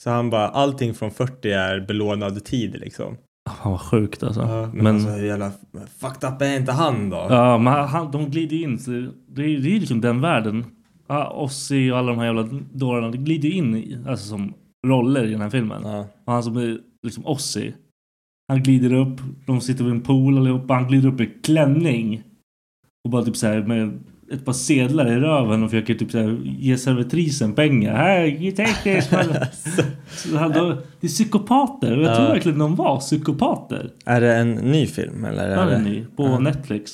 Speaker 2: Så han bara, allting från 40 är belånad tid liksom.
Speaker 5: Han var sjukt alltså.
Speaker 2: Ja, men,
Speaker 5: men,
Speaker 2: alltså hur jävla fucked up är inte han då?
Speaker 5: ja, men han, de glider ju in. så Det är ju det är ju liksom den världen. Ja, Ozzy och alla de här jävla dårarna de glider ju in i, alltså, som roller i den här filmen. Och han som är liksom Ozzy. Han glider upp, de sitter vid en pool allihopa. Han glider upp i klänning. Och bara typ såhär med ett par sedlar i röven och försöker typ såhär ge servitrisen pengar. Här, you take this. Så han då, det är psykopater. Och jag tror
Speaker 2: Ja.
Speaker 5: verkligen de var psykopater.
Speaker 2: Är det en ny film eller?
Speaker 5: Ja,
Speaker 2: är
Speaker 5: den är ny. På Netflix.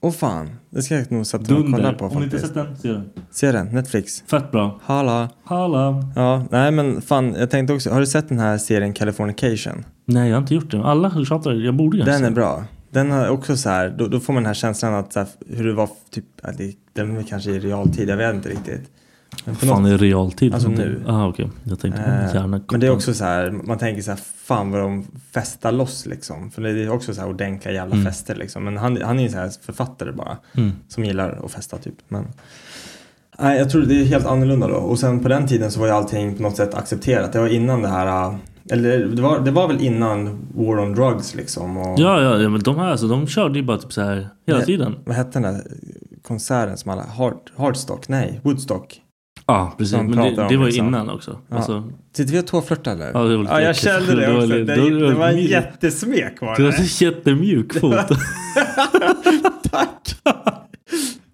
Speaker 2: Åh fan, det ska jag nog sätta mig och
Speaker 5: Dunder.
Speaker 2: kolla på
Speaker 5: Om ni inte
Speaker 2: faktiskt.
Speaker 5: sett den, se den.
Speaker 2: Se den, Netflix.
Speaker 5: Fett bra.
Speaker 2: Halla.
Speaker 5: Hallå.
Speaker 2: Ja, nej men fan, jag tänkte också, har du sett den här serien Californication?
Speaker 5: Nej, jag har inte gjort det. Alla tjatar. Jag borde ju
Speaker 2: Den
Speaker 5: se.
Speaker 2: är bra. Den har också så här, då, då får man den här känslan att så här, hur det var, typ, ja, det, den är kanske i realtid, jag vet inte riktigt. Men
Speaker 5: Vad
Speaker 2: på
Speaker 5: fan
Speaker 2: något-
Speaker 5: är realtid?
Speaker 2: Alltså
Speaker 5: för
Speaker 2: nu.
Speaker 5: någonting? Ah, okej. Jag tänkte på
Speaker 2: Eh,
Speaker 5: hjärnan.
Speaker 2: Men det är också så här, man tänker så här, fan vad de festar loss liksom. För det är också så här ordentliga jävla
Speaker 5: Mm.
Speaker 2: fester liksom. Men han, han är ju så här författare bara,
Speaker 5: Mm.
Speaker 2: som gillar att festa typ. Men, nej, jag tror det är helt annorlunda då. Och sen på den tiden så var ju allting på något sätt accepterat. Det var innan det här, äh, eller det var, det var väl innan War on Drugs liksom. Och,
Speaker 5: Ja, ja, ja, men de här alltså, de körde ju bara typ så här hela
Speaker 2: Nej,
Speaker 5: tiden.
Speaker 2: Vad hette den där konserten som alla, Hard, Hardstock? Nej, Woodstock.
Speaker 5: Ja, precis.
Speaker 2: Som
Speaker 5: Men
Speaker 2: pratar
Speaker 5: det,
Speaker 2: om
Speaker 5: det var ju
Speaker 2: liksom.
Speaker 5: innan också.
Speaker 2: Ja.
Speaker 5: Alltså,
Speaker 2: Sitter vi och tåflörtar eller?
Speaker 5: Ja, det var lite
Speaker 2: jag
Speaker 5: äckligt.
Speaker 2: kände det
Speaker 5: Det var
Speaker 2: också.
Speaker 5: lite-
Speaker 2: det,
Speaker 5: det var
Speaker 2: det var en
Speaker 5: mjukt.
Speaker 2: jättesmek var
Speaker 5: du har
Speaker 2: det.
Speaker 5: så jättemjuk fot.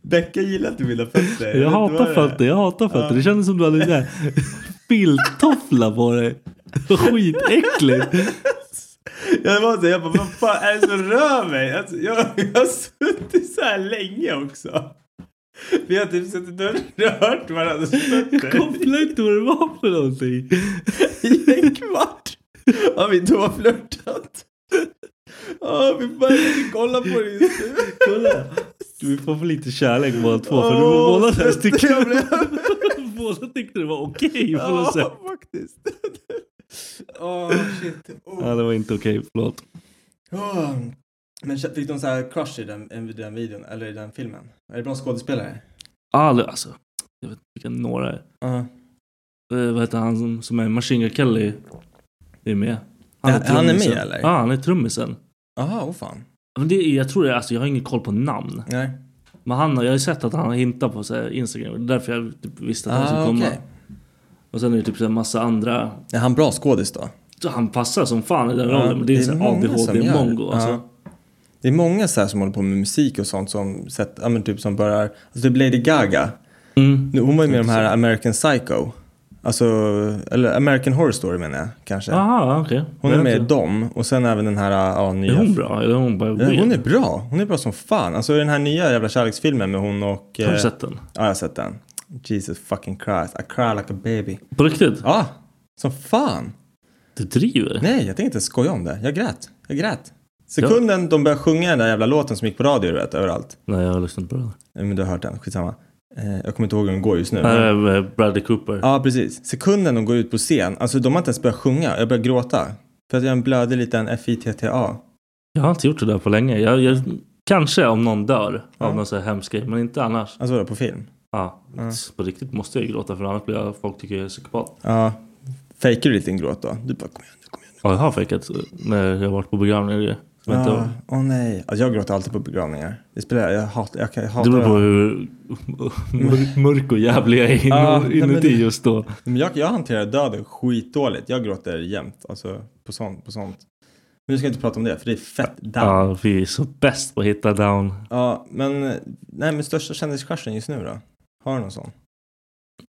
Speaker 2: Becka gillar inte mina fötter.
Speaker 5: Jag
Speaker 2: Vet
Speaker 5: hatar
Speaker 2: du vad det är?
Speaker 5: fötter, jag hatar fötter. Det kändes som du hade så här filttoffla på dig. Skitäckligt.
Speaker 2: Jag var så, jag bara, vad fan är det som rör mig? Alltså, jag, jag har suttit så här länge också. Vi har typ suttit och rört varandras fötter.
Speaker 5: Jag kopplar inte vad det var för någonting.
Speaker 2: I en kvart har vi tåflörtat. Ja, vi bara inte kolla på det just nu.
Speaker 5: Kolla. Vi får för lite kärlek båda två. För du var båda där tyckte, båda tyckte det var okej på något sätt.
Speaker 2: Ja, faktiskt. Åh, shit. Oh.
Speaker 5: Ja, det var inte okej. Förlåt.
Speaker 2: Ja. Men fick de så här crush i den, i den videon, eller i den filmen? Är det bra skådespelare?
Speaker 5: Ah, det- alltså, jag vet inte vilka några är.
Speaker 2: Ja.
Speaker 5: Eh, vad heter han som, som är Machine Gun Kelly? Är med.
Speaker 2: Ja, han är med,
Speaker 5: trummisen.
Speaker 2: eller?
Speaker 5: Ja, han är trummisen.
Speaker 2: Jaha, åh fan.
Speaker 5: Men det är, jag tror det, är- alltså jag har ingen koll på namn.
Speaker 2: Nej.
Speaker 5: Men han, har- jag har ju sett att han har hintat på så här, Instagram. Det är därför jag typ visste att han
Speaker 2: Ah,
Speaker 5: skulle komma.
Speaker 2: okej.
Speaker 5: Och sen är det typ så här massa andra.
Speaker 2: Är han bra skådis då?
Speaker 5: Så Han passar som fan i den
Speaker 2: Ja,
Speaker 5: rollen. Men det är, så här
Speaker 2: många som
Speaker 5: ADHD,
Speaker 2: gör.
Speaker 5: mongo. Alltså.
Speaker 2: Ja. Det är många så här som håller på med musik och sånt som, sett, ja, men typ som börjar, alltså typ Lady Gaga. Nu, Hon var ju med i de här American Psycho. Alltså, eller American Horror Story menar jag kanske.
Speaker 5: Aha, okej.
Speaker 2: Hon
Speaker 5: Jag
Speaker 2: är med i
Speaker 5: vet inte.
Speaker 2: dem och sen även den här ja, nya.
Speaker 5: Är hon bra? Eller är hon bara
Speaker 2: Ja, hon är
Speaker 5: weird?
Speaker 2: bra. Hon är bra som fan. Alltså i den här nya jävla kärleksfilmen med hon och...
Speaker 5: Har du
Speaker 2: eh,
Speaker 5: sett den?
Speaker 2: Ja, jag har sett den. Jesus fucking Christ. I cry like a baby.
Speaker 5: På riktigt?
Speaker 2: Ja, som fan.
Speaker 5: Du driver?
Speaker 2: Nej, jag tänkte inte skoja om det. Jag grät. Jag grät. Sekunden de började sjunga den där jävla låten som gick på radio, du vet, överallt.
Speaker 5: Nej, jag har lyssnat på den.
Speaker 2: Nej, Men du har hört den, skitsamma. Eh, Jag kommer inte ihåg hur den går just nu. men-
Speaker 5: Här är Bradley Cooper.
Speaker 2: Ja, precis. Sekunden de går ut på scen, alltså de har inte ens börjat sjunga. Jag började gråta. För att jag är en blödig liten F-I-T-T-A.
Speaker 5: Jag har inte gjort det där på länge. Jag, jag, kanske om någon dör
Speaker 2: Ja.
Speaker 5: av någon sån här hemsk grej, men inte annars.
Speaker 2: Alltså vadå, på film?
Speaker 5: Ja, På riktigt måste jag ju gråta för annars blir jag, folk tycker jag är psykopat.
Speaker 2: Ja. Fejkar du din gråt då? Du bara, kom igen.
Speaker 5: Ja, jag har fejkat när jag har varit på begravningar och grejer. Som jag inte
Speaker 2: Ja,
Speaker 5: har-
Speaker 2: Åh nej. Alltså, jag gråter alltid på begravningar. Det spelar jag hatar, jag, kan- jag hatar
Speaker 5: Det beror på hur mör- mörk och jävlig jag är in,
Speaker 2: Ja, nej, Ah, men
Speaker 5: inuti
Speaker 2: det-
Speaker 5: just då.
Speaker 2: Men jag, jag hanterar döden skitdåligt. Jag gråter jämt, alltså på sånt. På sånt. Men vi ska inte prata om det, för det är fett down. Ja,
Speaker 5: Ja, vi är så bäst på att hitta down.
Speaker 2: men, nej men största kändiscrushen just nu då? Har du någon sån?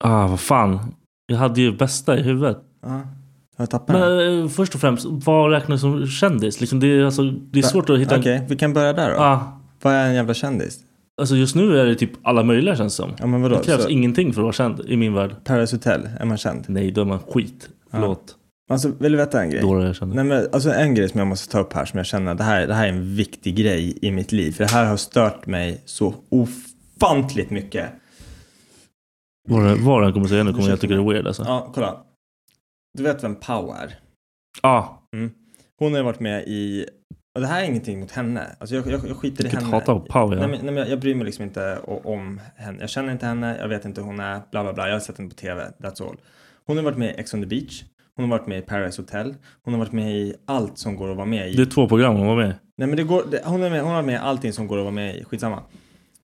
Speaker 5: Ah, vad fan. Jag hade ju bästa i huvudet.
Speaker 2: Ja. Har jag tappat den?
Speaker 5: Men eh, först och främst, vad räknas som kändis? Liksom, det, är, alltså, det är
Speaker 2: Va-
Speaker 5: svårt att hitta... en-
Speaker 2: Okej, vi kan börja där då.
Speaker 5: Ah,
Speaker 2: Vad är en jävla kändis?
Speaker 5: alltså just nu är det typ alla möjliga känns det som.
Speaker 2: Ja men vadå?
Speaker 5: Det krävs
Speaker 2: Så,
Speaker 5: ingenting för att vara känd i min värld.
Speaker 2: Paradise Hotel, är man känd?
Speaker 5: Nej, då är man skit. Förlåt.
Speaker 2: Alltså vill du veta en grej?
Speaker 5: Dårar jag känner.
Speaker 2: Nej, men, alltså, en grej som jag måste ta upp här som jag känner det här, det här är en viktig grej i mitt liv. För det här har stört mig så ofantligt mycket.
Speaker 5: Vad den- Vad den kommer säga nu kommer jag
Speaker 2: Ursäkta
Speaker 5: tycka det är
Speaker 2: mig.
Speaker 5: weird alltså.
Speaker 2: Ja, kolla.
Speaker 4: Du vet vem Pau är?
Speaker 2: Ja. Ah.
Speaker 4: Mm. Hon har ju varit med i, och det här är ingenting mot henne. Alltså jag, jag, jag skiter i
Speaker 2: Vilket
Speaker 4: henne.
Speaker 2: hatar Pau, ja.
Speaker 4: Nej, men, nej, men jag, jag bryr mig liksom inte o- om henne. Jag känner inte henne, jag vet inte hur hon är, bla bla bla. Jag har sett henne på tv, that's all. Hon har varit med i Ex on the beach. Hon har varit med i Paradise Hotel. Hon har varit med i allt som går att vara med i.
Speaker 2: Det är två program hon var med i.
Speaker 4: Nej men det går, det, hon, är med, hon har med allting som går att vara med i, skitsamma.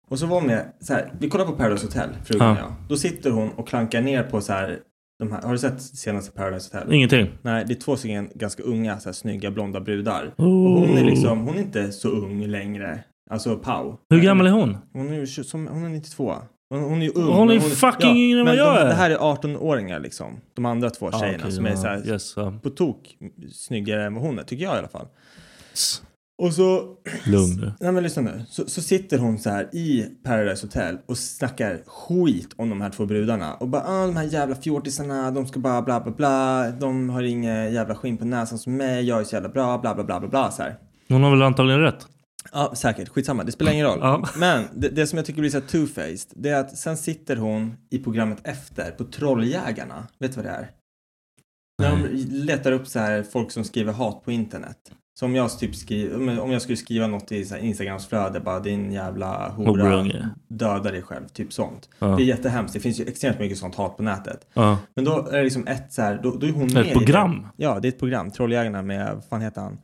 Speaker 4: Och så var hon med, så här, vi kollar på Paradise Hotel, frugan och
Speaker 2: Ja.
Speaker 4: jag. Då sitter hon och klankar ner på så här, de här, har du sett senaste Paradise Hotel?
Speaker 2: Ingenting.
Speaker 4: Nej, det är två stycken ganska unga, så här, snygga blonda brudar. Och hon är liksom, hon är inte så ung längre. Alltså Pau.
Speaker 2: Hur gammal är hon?
Speaker 4: Hon är ju tjo- som, hon är 92. Hon, hon är ju ung.
Speaker 2: Hon är
Speaker 4: men
Speaker 2: fucking yngre än
Speaker 4: men
Speaker 2: vad jag
Speaker 4: de,
Speaker 2: är.
Speaker 4: Det här är 18-åringar liksom. De andra två
Speaker 2: Ah,
Speaker 4: tjejerna
Speaker 2: okej,
Speaker 4: som är
Speaker 2: ja,
Speaker 4: så här
Speaker 2: yes, ja.
Speaker 4: på tok snyggare än vad hon är, tycker jag i alla fall. Och så...
Speaker 2: Lugn nu.
Speaker 4: Nej men lyssna nu. Så, så sitter hon så här i Paradise Hotel och snackar skit om de här två brudarna. Och bara ah, de här jävla fjortisarna, de ska bara bla bla bla. De har inga jävla skinn på näsan som mig, jag är så jävla bra, bla bla bla bla bla så här.
Speaker 2: Hon har väl antagligen rätt?
Speaker 4: Ja, säkert. Skitsamma, det spelar ingen roll.
Speaker 2: Ja.
Speaker 4: Men det, det som jag tycker blir så här two-faced, det är att sen sitter hon i programmet efter på Trolljägarna. Vet du vad det är? När de letar upp så här folk som skriver hat på internet. Så om jag, typ skriver, om jag- om jag skulle skriva något i så här Instagrams flöde, bara din jävla hora,
Speaker 2: Horunge.
Speaker 4: döda dig själv, typ sånt.
Speaker 2: Ja.
Speaker 4: Det är jättehemskt, det finns ju extremt mycket sånt hat på nätet.
Speaker 2: Ja.
Speaker 4: Men då är det liksom ett så här, då, då är hon
Speaker 2: Ett
Speaker 4: med i det.
Speaker 2: program?
Speaker 4: Ja, det är ett program, Trolljägarna med, vad fan heter han?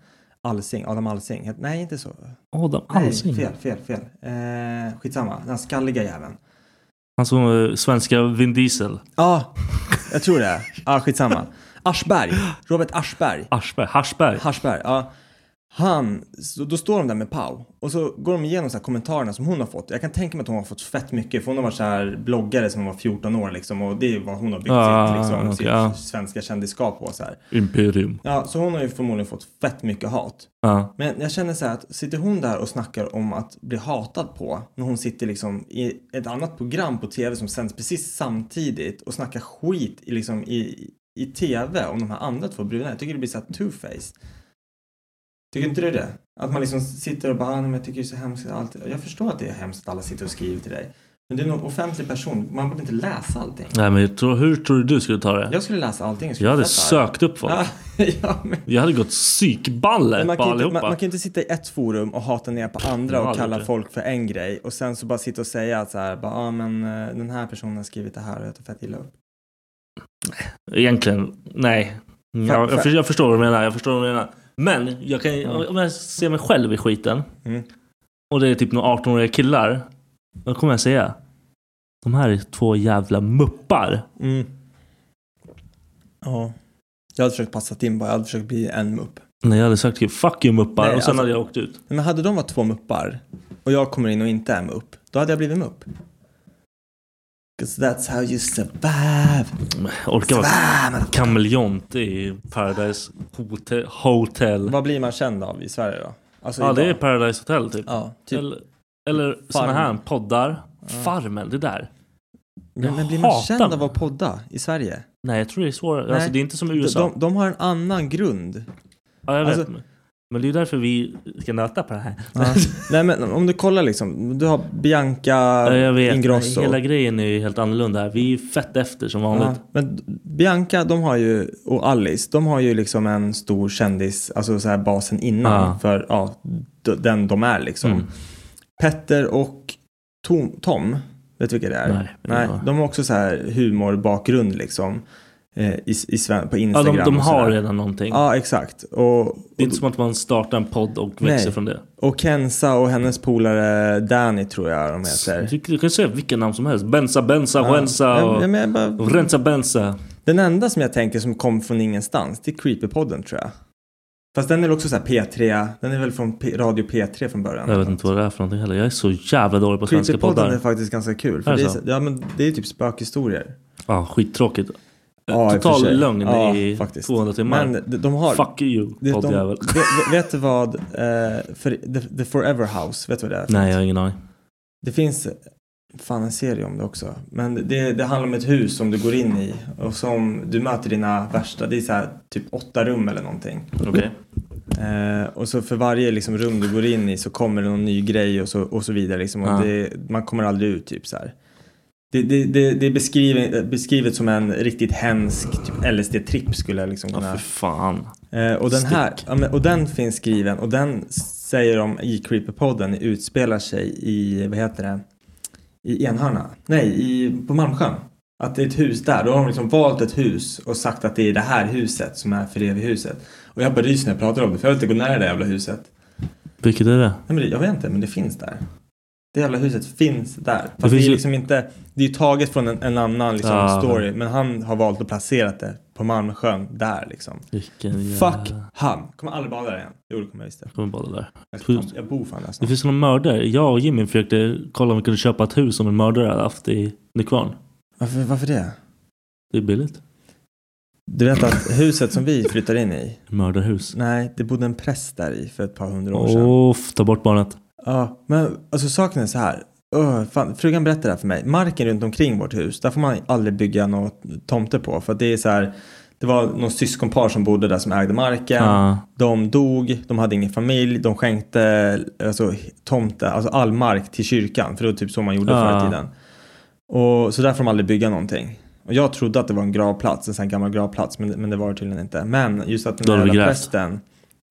Speaker 4: Alsing, Adam Alsing. Het- Nej, inte så.
Speaker 2: Adam
Speaker 4: Nej,
Speaker 2: Alsing.
Speaker 4: fel, fel, fel. Eh, skitsamma, den här skalliga jäveln.
Speaker 2: Han som eh, svenska Vin Diesel.
Speaker 4: Ja, jag tror det. Ja, skitsamma. Aschberg, Robert Aschberg.
Speaker 2: Aschberg, Haschberg.
Speaker 4: Haschberg, ja. Han, så då står de där med Pau och så går de igenom så här kommentarerna som hon har fått. Jag kan tänka mig att hon har fått fett mycket för hon har varit så här bloggare som var 14 år liksom och det är ju vad hon har byggt
Speaker 2: Ah,
Speaker 4: sitt liksom,
Speaker 2: okej,
Speaker 4: sitt
Speaker 2: ja.
Speaker 4: svenska kändisskap på så här.
Speaker 2: Imperium.
Speaker 4: Ja, så hon har ju förmodligen fått fett mycket hat.
Speaker 2: Ja.
Speaker 4: Men jag känner så här att sitter hon där och snackar om att bli hatad på när hon sitter liksom i ett annat program på tv som sänds precis samtidigt och snackar skit i, liksom i, i tv om de här andra två brudarna. Jag tycker det blir så här two-face. Tycker inte du det? Att man liksom sitter och bara, "Ah, nej, men jag tycker det är så hemskt. att Allt. Jag förstår att det är hemskt att alla sitter och skriver till dig. Men du är en offentlig person, man borde inte läsa allting.
Speaker 2: Nej men jag tror, hur tror du du skulle ta det?
Speaker 4: Jag skulle läsa allting. Jag, skulle
Speaker 2: Jag hade
Speaker 4: tvätta allt.
Speaker 2: sökt upp folk.
Speaker 4: Ja,
Speaker 2: Jag hade gått
Speaker 4: Men
Speaker 2: psykballet
Speaker 4: man,
Speaker 2: på
Speaker 4: kan ju inte,
Speaker 2: allihopa.
Speaker 4: man, man kan ju inte sitta i ett forum och hata ner på andra
Speaker 2: Jag har
Speaker 4: och kalla
Speaker 2: aldrig.
Speaker 4: folk för en grej och sen så bara sitta och säga att så här, bara, ah, men eh, den här personen har skrivit det här och jag tar fett illa upp.
Speaker 2: Egentligen, nej. Jag, jag, förstår, jag förstår vad du menar. Jag förstår vad du menar. Men jag kan, om jag ser mig själv i skiten
Speaker 4: Mm.
Speaker 2: och det är typ några 18-åriga killar. Vad kommer jag säga? De här är två jävla muppar.
Speaker 4: Mm. Ja. Jag hade försökt passa in bara, jag hade försökt bli en mupp.
Speaker 2: Nej, jag hade sagt typ fuck you muppar
Speaker 4: Nej,
Speaker 2: och sen
Speaker 4: alltså-
Speaker 2: hade jag åkt ut.
Speaker 4: Men hade de varit två muppar och jag kommer in och inte är mupp, då hade jag blivit mupp. 'Cause that's how you survive.
Speaker 2: Orkar
Speaker 4: Svär,
Speaker 2: vara
Speaker 4: men-
Speaker 2: kameleont i Paradise Hotel. hotel.
Speaker 4: Vad blir man känd av i Sverige då? Alltså,
Speaker 2: Ja, det är
Speaker 4: idag.
Speaker 2: Paradise Hotel typ.
Speaker 4: Ja, typ.
Speaker 2: Eller, eller såna här poddar. Farmen, det där.
Speaker 4: Men,
Speaker 2: Jag
Speaker 4: men blir man
Speaker 2: hatar
Speaker 4: känd av
Speaker 2: mig.
Speaker 4: att podda i Sverige?
Speaker 2: Nej, jag tror det är svårare.
Speaker 4: Nej.
Speaker 2: Alltså, det är inte som i
Speaker 4: De-
Speaker 2: USA.
Speaker 4: De, de har en annan grund.
Speaker 2: ja, jag vet.
Speaker 4: alltså-
Speaker 2: men det är ju därför vi ska nöta på det här.
Speaker 4: Ja. Nej men om du kollar liksom, du har Bianca
Speaker 2: Ja, jag vet.
Speaker 4: Ingrosso.
Speaker 2: Hela grejen är ju helt annorlunda här. Vi är fett efter som vanligt.
Speaker 4: Ja, men Bianca de har ju, och Alice, de har ju liksom en stor kändis, alltså så här basen innan
Speaker 2: Ja.
Speaker 4: för ja, d- den de är liksom.
Speaker 2: Mm.
Speaker 4: Petter och Tom, Tom, vet du vilka det är?
Speaker 2: Nej,
Speaker 4: Nej
Speaker 2: ja.
Speaker 4: de har också så här humorbakgrund liksom. eh, I, i, sven- på
Speaker 2: Ja,
Speaker 4: Instagram
Speaker 2: de, de
Speaker 4: och så
Speaker 2: har
Speaker 4: där.
Speaker 2: redan någonting.
Speaker 4: Ja, exakt. Och,
Speaker 2: det är inte som att man startar en podd och
Speaker 4: Nej.
Speaker 2: växer från det.
Speaker 4: och Kenza och hennes polare Danny tror jag de heter.
Speaker 2: Du, du kan säga vilka namn som helst. Bensa, Bensa,
Speaker 4: Ja.
Speaker 2: Rensa
Speaker 4: Ja,
Speaker 2: och,
Speaker 4: ja, men jag bara-
Speaker 2: och Rensa, Bensa.
Speaker 4: Den enda som jag tänker som kom från ingenstans, det är Creepypodden tror jag. Fast den är väl också så här P3, den är väl från P- Radio P3 från början.
Speaker 2: Jag vet inte vad det är för någonting heller. Jag är så jävla dålig på svenska
Speaker 4: Creepypodden är
Speaker 2: poddar.
Speaker 4: faktiskt ganska kul.
Speaker 2: Är
Speaker 4: För
Speaker 2: det
Speaker 4: det, är,
Speaker 2: så?
Speaker 4: så- ja, men det är typ spökhistorier.
Speaker 2: Ja, skittråkigt.
Speaker 4: Ja, i och för
Speaker 2: Total
Speaker 4: sig.
Speaker 2: lögn
Speaker 4: Ja,
Speaker 2: i
Speaker 4: faktiskt.
Speaker 2: 200 timmar.
Speaker 4: Men de- de har...
Speaker 2: Fuck you,
Speaker 4: de, de,
Speaker 2: poddjävel.
Speaker 4: vet, vet- vet du vad, eh, för, the, the Forever House, vet du vad det är? för
Speaker 2: Nej, jag
Speaker 4: något?
Speaker 2: har ingen aning.
Speaker 4: Det finns fan en serie om det också. Men det, det handlar om ett hus som du går in i och som du möter dina värsta, det är så här typ åtta rum eller någonting.
Speaker 2: Okej.
Speaker 4: Eh, och så för varje liksom, rum du går in i så kommer det någon ny grej och så, och så vidare. Liksom, och
Speaker 2: Ja.
Speaker 4: det, man kommer aldrig ut typ så här.
Speaker 2: Det, det, det, det är beskrivet, beskrivet som en riktigt hemsk typ LSD-tripp skulle jag liksom
Speaker 5: Ja,
Speaker 2: kunna...
Speaker 5: för fan.
Speaker 2: Eh, och, den här, ja, men, och den finns skriven och den säger de i Creeperpodden utspelar sig i, vad heter det, i Enhörna? Nej, i, på Malmsjön. Att det är ett hus där. Då har de liksom valt ett hus och sagt att det är det här huset som är för evigt huset. Och jag bara ryser när jag pratar om det för jag vill inte gå nära det jävla huset.
Speaker 5: Vilket är det?
Speaker 2: Nej, men det, jag vet inte, men det finns där. Det jävla huset finns där. Fast det,
Speaker 5: finns
Speaker 2: är
Speaker 5: ju-
Speaker 2: liksom inte, det är ju taget från en, en annan liksom,
Speaker 5: Ja.
Speaker 2: story. Men han har valt att placera det på Malmsjön där liksom.
Speaker 5: Vilken jävla-
Speaker 2: Fuck han. Kommer aldrig bada där igen. Jo, det kommer jag visst det.
Speaker 5: Jag kommer bada där.
Speaker 2: Jag, ska fan- jag bor fan där
Speaker 5: Det
Speaker 2: snart.
Speaker 5: finns någon mördare. Jag och Jimmy försökte kolla om vi kunde köpa ett hus som en mördare hade haft i Nykvarn.
Speaker 2: Varför, varför det?
Speaker 5: Det är billigt.
Speaker 2: Du vet att huset som vi flyttade in i.
Speaker 5: Mördarhus.
Speaker 2: Nej, det bodde en präst där i för ett par hundra år sedan.
Speaker 5: Åh, ta bort barnet.
Speaker 2: Ja, men alltså saken är så här. Öh, fan, frugan berättade det här för mig. Marken runt omkring vårt hus, där får man aldrig bygga något tomte på. För att det är så här, det var någon syskonpar som bodde där som ägde marken.
Speaker 5: Ja.
Speaker 2: De dog, de hade ingen familj, de skänkte alltså, tomte, alltså all mark till kyrkan. För det var typ så man gjorde förr
Speaker 5: Ja.
Speaker 2: i tiden. Och, så där får de aldrig bygga någonting. Och jag trodde att det var en gravplats, en sån här gammal gravplats, men, men det var det tydligen inte. Men just att den
Speaker 5: Då
Speaker 2: här
Speaker 5: hade vi
Speaker 2: jävla
Speaker 5: grävt.
Speaker 2: prästen,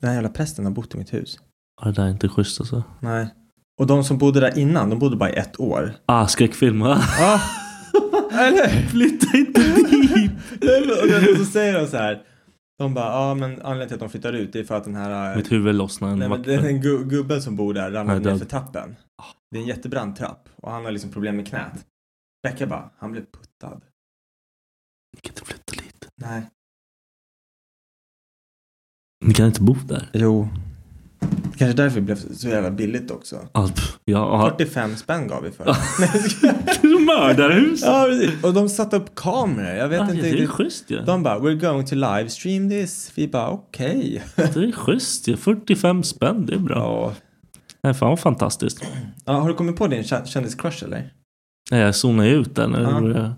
Speaker 2: den här jävla prästen har bott i mitt hus.
Speaker 5: Ja, Det där är inte schysst alltså.
Speaker 2: Nej. Och de som bodde där innan, de bodde bara i ett år.
Speaker 5: Ah, skräckfilm. Ah.
Speaker 2: Ja. Eller Flytta inte dit! och så säger de så här. De bara, ja men anledningen till att de flyttar ut det är för att den här...
Speaker 5: Mitt huvud lossnade.
Speaker 2: Nej, men
Speaker 5: en
Speaker 2: den,
Speaker 5: vacker-
Speaker 2: den gu- gubben som bor där
Speaker 5: Han är
Speaker 2: ramlade
Speaker 5: död.
Speaker 2: ner för trappen. Det är en jättebrant trapp och han har liksom problem med knät. Becka bara, han blev puttad.
Speaker 5: Ni kan inte flytta dit.
Speaker 2: Nej.
Speaker 5: Ni kan inte bo där.
Speaker 2: Jo. Kanske därför det blev så jävla billigt också.
Speaker 5: Allt. Ja,
Speaker 2: 45 spänn gav vi för
Speaker 5: Ja.
Speaker 2: det. Nej, jag skojar.
Speaker 5: Mördarhus.
Speaker 2: Ja, precis. Och de satte upp kameror. Jag vet
Speaker 5: Ja,
Speaker 2: inte
Speaker 5: det är
Speaker 2: riktigt.
Speaker 5: schysst ju.
Speaker 2: De bara, we're going to livestream this. Vi bara, okej.
Speaker 5: Det är schysst ju. 45 spänn, det är bra.
Speaker 2: Ja.
Speaker 5: Nej, fan vad fantastiskt.
Speaker 2: Ja, har du kommit på din kä- kändiscrush eller?
Speaker 5: Nej, jag zonar ju ut där nu.
Speaker 2: Ja.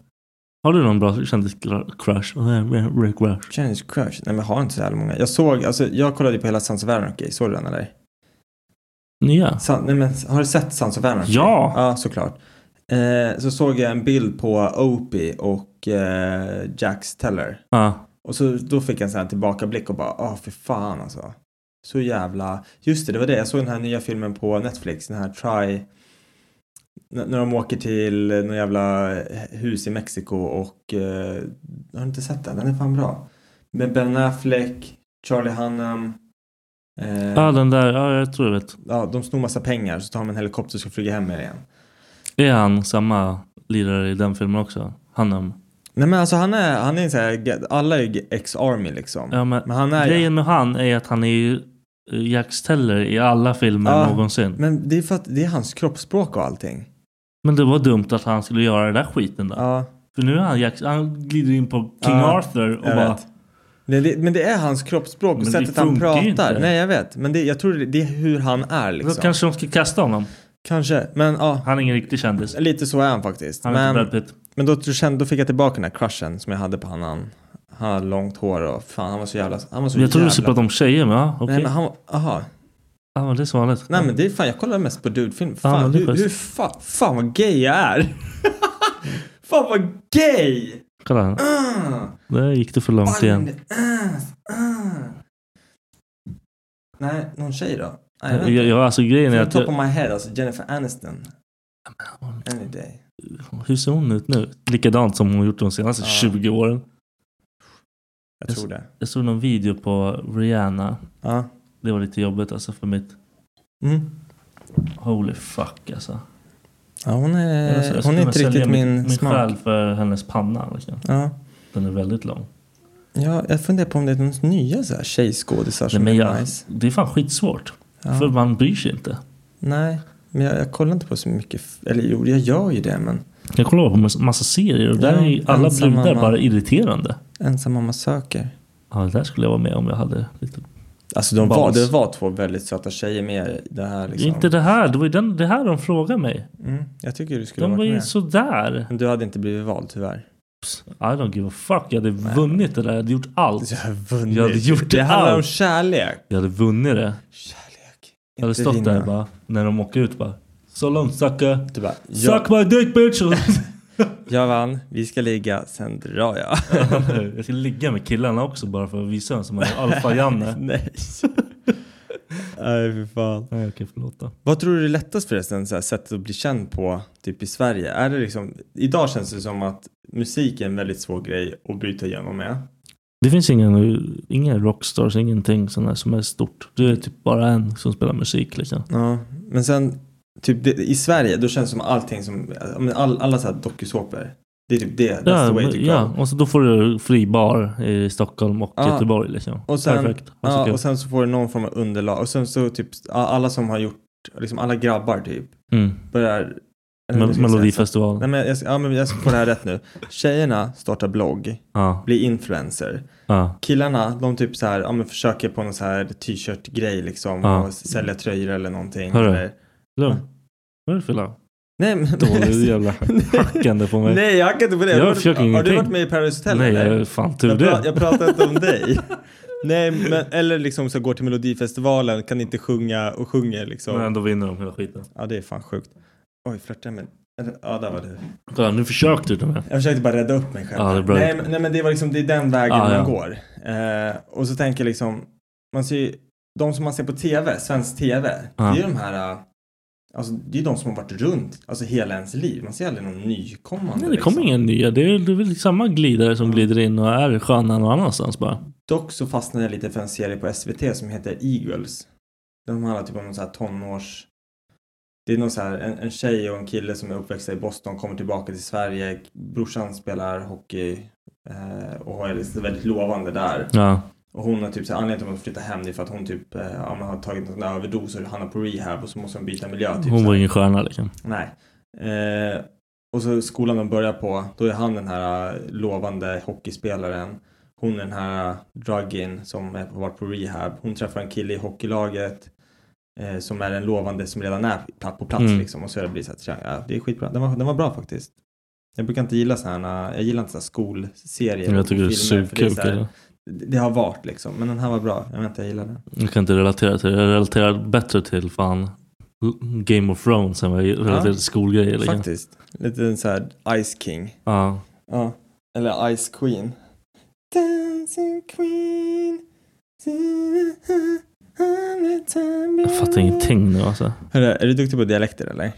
Speaker 5: Har du någon bra kändiscrush? Nej, crush.
Speaker 2: Kändiscrush? Nej men jag har inte så jävla många. Jag såg, alltså jag kollade ju på hela Sons of Anarchy. Såg du den eller?
Speaker 5: Nya?
Speaker 2: San, nej men har du sett Sons of Anarchy?
Speaker 5: Ja.
Speaker 2: Ja, såklart. Eh, så såg jag en bild på Opie och eh, Jax Teller.
Speaker 5: Ja.
Speaker 2: Och så då fick jag en sån här tillbakablick och bara, ah för fan alltså. Så jävla, just det, det var det, jag såg den här nya filmen på Netflix, den här Try, N- när de åker till någon jävla hus i Mexiko och, eh, har du inte sett den? Den är fan bra. Med Ben Affleck, Charlie Hunnam, eh,
Speaker 5: Ja, den där. Ja, jag tror jag vet.
Speaker 2: ja, de snor massa pengar så tar de en helikopter och ska flyga hem med det igen.
Speaker 5: Är han samma lirare i den filmen också? Han om...
Speaker 2: Nej men alltså han är, han är en sån här, alla är ju ex-army liksom.
Speaker 5: Ja, men,
Speaker 2: Men han är ju-
Speaker 5: grejen med han är att han är ju Jax Teller i alla filmer
Speaker 2: Ja,
Speaker 5: någonsin. Men...
Speaker 2: Men det är för att det är hans kroppsspråk och allting.
Speaker 5: det var dumt att han skulle göra den där skiten där.
Speaker 2: Ja,
Speaker 5: För nu är han Jax, han glider in på King
Speaker 2: Ja,
Speaker 5: Arthur och
Speaker 2: jag
Speaker 5: bara...
Speaker 2: vet. Det, det, men det är hans kroppsspråk och
Speaker 5: Men det
Speaker 2: sättet han
Speaker 5: funkar
Speaker 2: pratar.
Speaker 5: ju inte.
Speaker 2: Nej, jag vet. Men det, jag tror det, det är hur han är liksom.
Speaker 5: Då kanske de ska kasta honom.
Speaker 2: Kanske. Men ja,
Speaker 5: Han är ingen riktig kändis.
Speaker 2: lite så är han faktiskt.
Speaker 5: Han är inte
Speaker 2: men
Speaker 5: Brad Pitt.
Speaker 2: men då, tror- kände- då fick jag tillbaka den här crushen som jag hade på honom. Han hade långt hår och fan han var så jävla... Han var så
Speaker 5: Jag trodde
Speaker 2: jävla...
Speaker 5: du skulle prata om tjejer, men ja, okej.
Speaker 2: Nej men han var... Aha.
Speaker 5: Ja, men det är som vanligt.
Speaker 2: Nej men det är fan, jag kollar mest på dudefilm.
Speaker 5: Mm. Ja,
Speaker 2: Fan,
Speaker 5: men det är
Speaker 2: hur,
Speaker 5: schysst.
Speaker 2: hur fan, fan vad gay jag är! fan vad gay!
Speaker 5: Kolla här.
Speaker 2: Ah.
Speaker 5: Där gick det för långt igen.
Speaker 2: Nej, någon tjej då? Nej,
Speaker 5: Jag,
Speaker 2: vänta.
Speaker 5: jag, alltså grejen är
Speaker 2: Från
Speaker 5: att...
Speaker 2: top of
Speaker 5: Jag,
Speaker 2: my head, alltså Jennifer Aniston. Any day.
Speaker 5: hur ser hon ut nu? Likadant som hon gjort de senaste
Speaker 2: Ja.
Speaker 5: 20 åren.
Speaker 2: Jag tror det.
Speaker 5: Jag såg någon video på Rihanna.
Speaker 2: Ja.
Speaker 5: Det var lite jobbigt alltså för mitt...
Speaker 2: Mm.
Speaker 5: Holy fuck alltså.
Speaker 2: ja hon är,
Speaker 5: alltså jag
Speaker 2: hon
Speaker 5: skulle
Speaker 2: är
Speaker 5: kunna
Speaker 2: inte
Speaker 5: sälja
Speaker 2: riktigt min,
Speaker 5: min själ
Speaker 2: smak.
Speaker 5: för hennes panna. Liksom.
Speaker 2: Ja.
Speaker 5: Den är väldigt lång.
Speaker 2: ja, jag funderar på om det är några nya så här tjejskådisar
Speaker 5: Nej,
Speaker 2: som
Speaker 5: men
Speaker 2: är
Speaker 5: jag,
Speaker 2: nice.
Speaker 5: det är fan skitsvårt.
Speaker 2: Ja.
Speaker 5: För man bryr sig inte.
Speaker 2: Nej, men jag, jag kollar inte på så mycket. f- Eller jo, jag gör ju det, men
Speaker 5: Jag kollar på mass- massa serier och där
Speaker 2: Ja,
Speaker 5: är ju alla
Speaker 2: ensam
Speaker 5: brudar
Speaker 2: mamma.
Speaker 5: bara irriterande.
Speaker 2: ensam mamma söker.
Speaker 5: Ja, det där skulle jag vara med om jag hade lite...
Speaker 2: Alltså de var,
Speaker 5: Babs.
Speaker 2: det var två väldigt söta tjejer med i det här liksom.
Speaker 5: Inte det här, det var ju den, det här de frågade mig.
Speaker 2: Mm, jag tycker du skulle
Speaker 5: De
Speaker 2: ha
Speaker 5: var
Speaker 2: varit
Speaker 5: ju
Speaker 2: med.
Speaker 5: sådär.
Speaker 2: Men du hade inte blivit vald tyvärr.
Speaker 5: Psst, I don't give a fuck. Jag hade vunnit det där. Jag hade gjort allt.
Speaker 2: har vunnit.
Speaker 5: Jag hade gjort
Speaker 2: det
Speaker 5: det
Speaker 2: handlar om
Speaker 5: allt.
Speaker 2: kärlek.
Speaker 5: Jag hade vunnit det.
Speaker 2: Kärlek.
Speaker 5: Jag hade
Speaker 2: Inte
Speaker 5: stått där
Speaker 2: vinna.
Speaker 5: bara, när de åker ut bara. So long sucker.
Speaker 2: Du bara, ja.
Speaker 5: Suck my dick bitch!
Speaker 2: Jag vann, vi ska ligga, sen drar jag.
Speaker 5: jag ska ligga med killarna också bara för att visa vem som är alfa-Janne.
Speaker 2: Nej. Nej, fy fan.
Speaker 5: Nej, okej, förlåt då.
Speaker 2: Vad tror du är lättast förresten, så här, sättet att bli känd på, typ i Sverige? Är det liksom, idag känns det som att musik är en väldigt svår grej att bryta igenom med.
Speaker 5: Det finns ingen, inga rockstars, ingenting sånt där som är stort. Du är typ bara en som spelar musik liksom.
Speaker 2: Ja, men sen typ det, i Sverige, då känns det som allting som, ja, men all, alla så här dokusåpor. Det är typ det, that's
Speaker 5: Ja,
Speaker 2: the way to
Speaker 5: men-
Speaker 2: go.
Speaker 5: ja, och så då får du fri bar i Stockholm och
Speaker 2: Ja.
Speaker 5: Göteborg liksom.
Speaker 2: Och sen,
Speaker 5: Perfekt. Och så
Speaker 2: ja,
Speaker 5: kul.
Speaker 2: och sen så får du någon form av underlag. Och sen så typ ja, alla som har gjort, liksom alla grabbar typ,
Speaker 5: Mm.
Speaker 2: börjar... eller
Speaker 5: Mel-
Speaker 2: hur ska jag säga?
Speaker 5: Melodifestivalen.
Speaker 2: Nej, men jag, ska- ja, men jag ska få det här rätt nu. Tjejerna startar blogg,
Speaker 5: Ja.
Speaker 2: blir influencer.
Speaker 5: Ja.
Speaker 2: Killarna, de typ så här, ja, men försöker på någon så här t-shirt-grej liksom.
Speaker 5: Ja.
Speaker 2: Och s- sälja tröjor eller någonting.
Speaker 5: Hörru.
Speaker 2: Eller,
Speaker 5: Lugn. Vad är det för jävla-
Speaker 2: nej, men,
Speaker 5: dåligt jävla hackande på mig?
Speaker 2: Nej, jag hackar inte på det.
Speaker 5: Jag
Speaker 2: Har du-
Speaker 5: försöker
Speaker 2: Har du
Speaker 5: ingenting.
Speaker 2: varit med i Paradise Hotel
Speaker 5: Nej,
Speaker 2: eller?
Speaker 5: jag- fan, tur
Speaker 2: jag,
Speaker 5: det.
Speaker 2: pra- jag pratar inte om dig. Nej, men, eller liksom så går till Melodifestivalen, kan inte sjunga och sjunger liksom.
Speaker 5: Men ändå vinner de hela skiten.
Speaker 2: Ja, det är fan sjukt. Oj, flörtar jag med... eller- Ja, där var du.
Speaker 5: Kolla, nu försökte du till och med.
Speaker 2: Jag försökte bara rädda upp mig själv.
Speaker 5: Ja, det är bra.
Speaker 2: nej, men, nej, men det var liksom, det är den vägen
Speaker 5: Ah,
Speaker 2: man
Speaker 5: ja.
Speaker 2: går. Eh, och så tänker jag liksom, man ser ju, de som man ser på tv, svensk tv,
Speaker 5: Ja.
Speaker 2: det är ju de här, eh, alltså det är de som har varit runt, alltså hela ens liv. Man ser aldrig någon nykommande.
Speaker 5: Nej, det
Speaker 2: liksom.
Speaker 5: kommer inga nya. Det är, det är väl samma glidare som glider in och är sköna någon annanstans bara.
Speaker 2: Dock så fastnade jag lite för en serie på SVT som heter Eagles. De handlar typ om någon så här tonårs... Det är någon så här, en, en tjej och en kille som är uppväxta i Boston, kommer tillbaka till Sverige. Brorsan spelar hockey eh, och är väldigt lovande där.
Speaker 5: Ja.
Speaker 2: Och hon har typ så här, anledningen till att hon flyttar hem det är för att hon typ eh, ja, men har tagit en överdos och hamnat på rehab och så måste hon byta miljö. Typ, så
Speaker 5: Hon
Speaker 2: här.
Speaker 5: var ingen stjärna liksom.
Speaker 2: Nej. Eh, och så skolan de börjar på, då är han den här eh, lovande hockeyspelaren. Hon är den här eh, druggin som är- har varit på rehab. Hon träffar en kille i hockeylaget eh, som är en lovande som redan är pla- på plats
Speaker 5: Mm.
Speaker 2: liksom. Och så är det blir så här, ja, det är skitbra. Den var, den var bra faktiskt. Jag brukar inte gilla sådana här, jag gillar inte sådana här skolserier.
Speaker 5: Jag
Speaker 2: och
Speaker 5: tycker det är
Speaker 2: filmer, för det så
Speaker 5: sugkuk.
Speaker 2: här-
Speaker 5: eller?
Speaker 2: Det det har varit liksom, men den här var bra. Jag vet inte, jag gillar den.
Speaker 5: Jag kan inte relatera till det. Jag relaterar bättre till fan Game of Thrones än vad jag relaterar till skolgrejer. Liksom.
Speaker 2: Faktiskt. Lite så här Ice King.
Speaker 5: Ja.
Speaker 2: Ja, eller Ice Queen. Dancing Queen.
Speaker 5: Jag fattar ingenting nu alltså.
Speaker 2: Hörru, är du duktig på dialekter eller?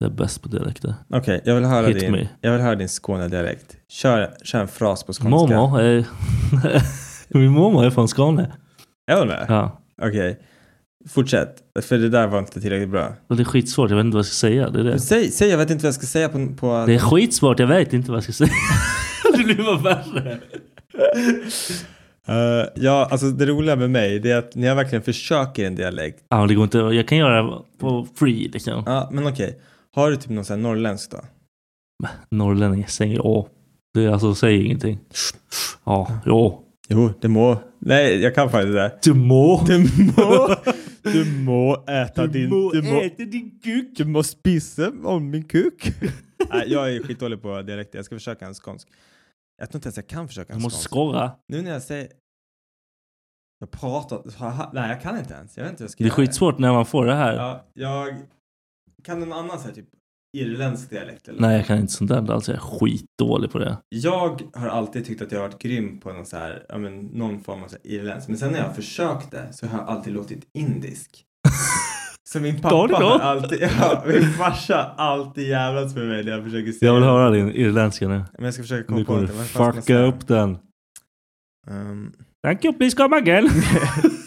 Speaker 5: Det är bäst på dialekter.
Speaker 2: Okej, jag vill höra
Speaker 5: Hit
Speaker 2: din,
Speaker 5: me.
Speaker 2: jag vill höra din Skånedialekt. Kör, kör en fras på skånska.
Speaker 5: Momo är... Min mormor är från Skåne.
Speaker 2: Är hon det?
Speaker 5: Ja.
Speaker 2: Okej, fortsätt. För det där var inte tillräckligt bra.
Speaker 5: Och det är skitsvårt. Jag vet inte vad jag ska säga. Det är, det.
Speaker 2: Men Säg, säg, jag vet inte vad jag ska säga på... på
Speaker 5: Det är skitsvårt. Jag vet inte vad jag ska säga. det blir bara värre.
Speaker 2: Eh, ja, alltså det roliga med mig det är att när jag verkligen försöker en dialekt.
Speaker 5: Ja, men det går inte. Jag kan göra det på free liksom.
Speaker 2: Ja, men okej. Har du typ någon sån här norrländsk då?
Speaker 5: Norrlänning säger åh. Det är alltså, säg ingenting. Ja, ja.
Speaker 2: Jo, det må. Nej, jag kan fan inte det där.
Speaker 5: Du må.
Speaker 2: Du må, du må äta
Speaker 5: Du
Speaker 2: din...
Speaker 5: må
Speaker 2: du må-
Speaker 5: äta din kuk.
Speaker 2: Du må spisa om min kuk. Nej, jag är skitdålig på dialekter. Jag ska försöka en skånsk. Jag tror inte ens jag kan försöka
Speaker 5: Du
Speaker 2: en
Speaker 5: måste
Speaker 2: skånsk.
Speaker 5: skorra.
Speaker 2: Nu när jag säger... Jag pratar... haha, Nej, jag kan inte ens. Jag vet inte hur jag ska
Speaker 5: Det är
Speaker 2: göra
Speaker 5: skitsvårt när man får det här.
Speaker 2: Ja, jag... Kan någon annan säga typ irländsk dialekt? Eller?
Speaker 5: Nej, jag kan inte sånt där alls. Jag är skitdålig på det.
Speaker 2: Jag har alltid tyckt att jag har varit grym på någon, så här, ja, men någon form av så här irländsk. Men sen när jag försökte så har jag alltid låtit indisk. Så min pappa
Speaker 5: Har du då?
Speaker 2: har alltid, ja, min farsa har alltid jävlats med mig när jag försöker säga
Speaker 5: Jag vill
Speaker 2: det.
Speaker 5: höra din irländska nu.
Speaker 2: Men jag ska försöka komma
Speaker 5: Du
Speaker 2: på
Speaker 5: kommer
Speaker 2: något. Vad fan ska man
Speaker 5: fucka
Speaker 2: säga?
Speaker 5: upp den.
Speaker 2: Ehm,
Speaker 5: Thank you, please come again.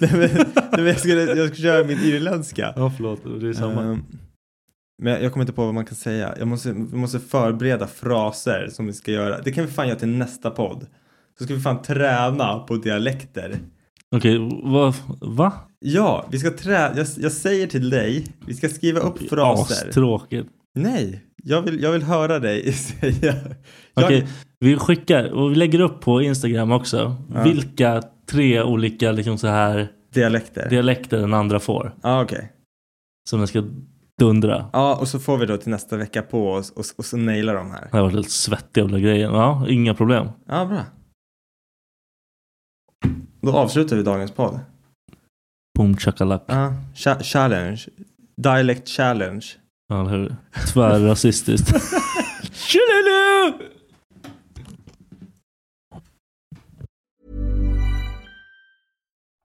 Speaker 2: nej, men, nej, men jag, skulle, jag skulle köra min irländska.
Speaker 5: ja, förlåt. Det är samma.
Speaker 2: Ehm, men jag, jag kommer inte på vad man kan säga. Jag måste, vi måste förbereda fraser som vi ska göra. Det kan vi fan göra till nästa podd. Så ska vi fan träna på dialekter.
Speaker 5: Okej, va? va?
Speaker 2: Ja, vi ska trä... Jag, jag säger till dig, vi ska skriva upp fraser.
Speaker 5: Astråkigt.
Speaker 2: Nej, jag vill, jag vill höra dig säga. Jag,
Speaker 5: Okej, vi skickar och vi lägger upp på Instagram också.
Speaker 2: Ja.
Speaker 5: Vilka tre olika liksom så här
Speaker 2: Dialekter.
Speaker 5: dialekter den andra får.
Speaker 2: Ja, okej.
Speaker 5: Som den ska dundra.
Speaker 2: Ja, och så får vi då till nästa vecka på oss och, och så naila de här.
Speaker 5: Det har varit lite svettiga jävla grejen. Ja, inga problem.
Speaker 2: Ja, bra. Då avslutar vi dagens podd.
Speaker 5: Boom chakalak.
Speaker 2: Ja, cha- challenge. Dialect challenge.
Speaker 5: Ja, eller hur? Tvärrasistiskt. Tjololo! you!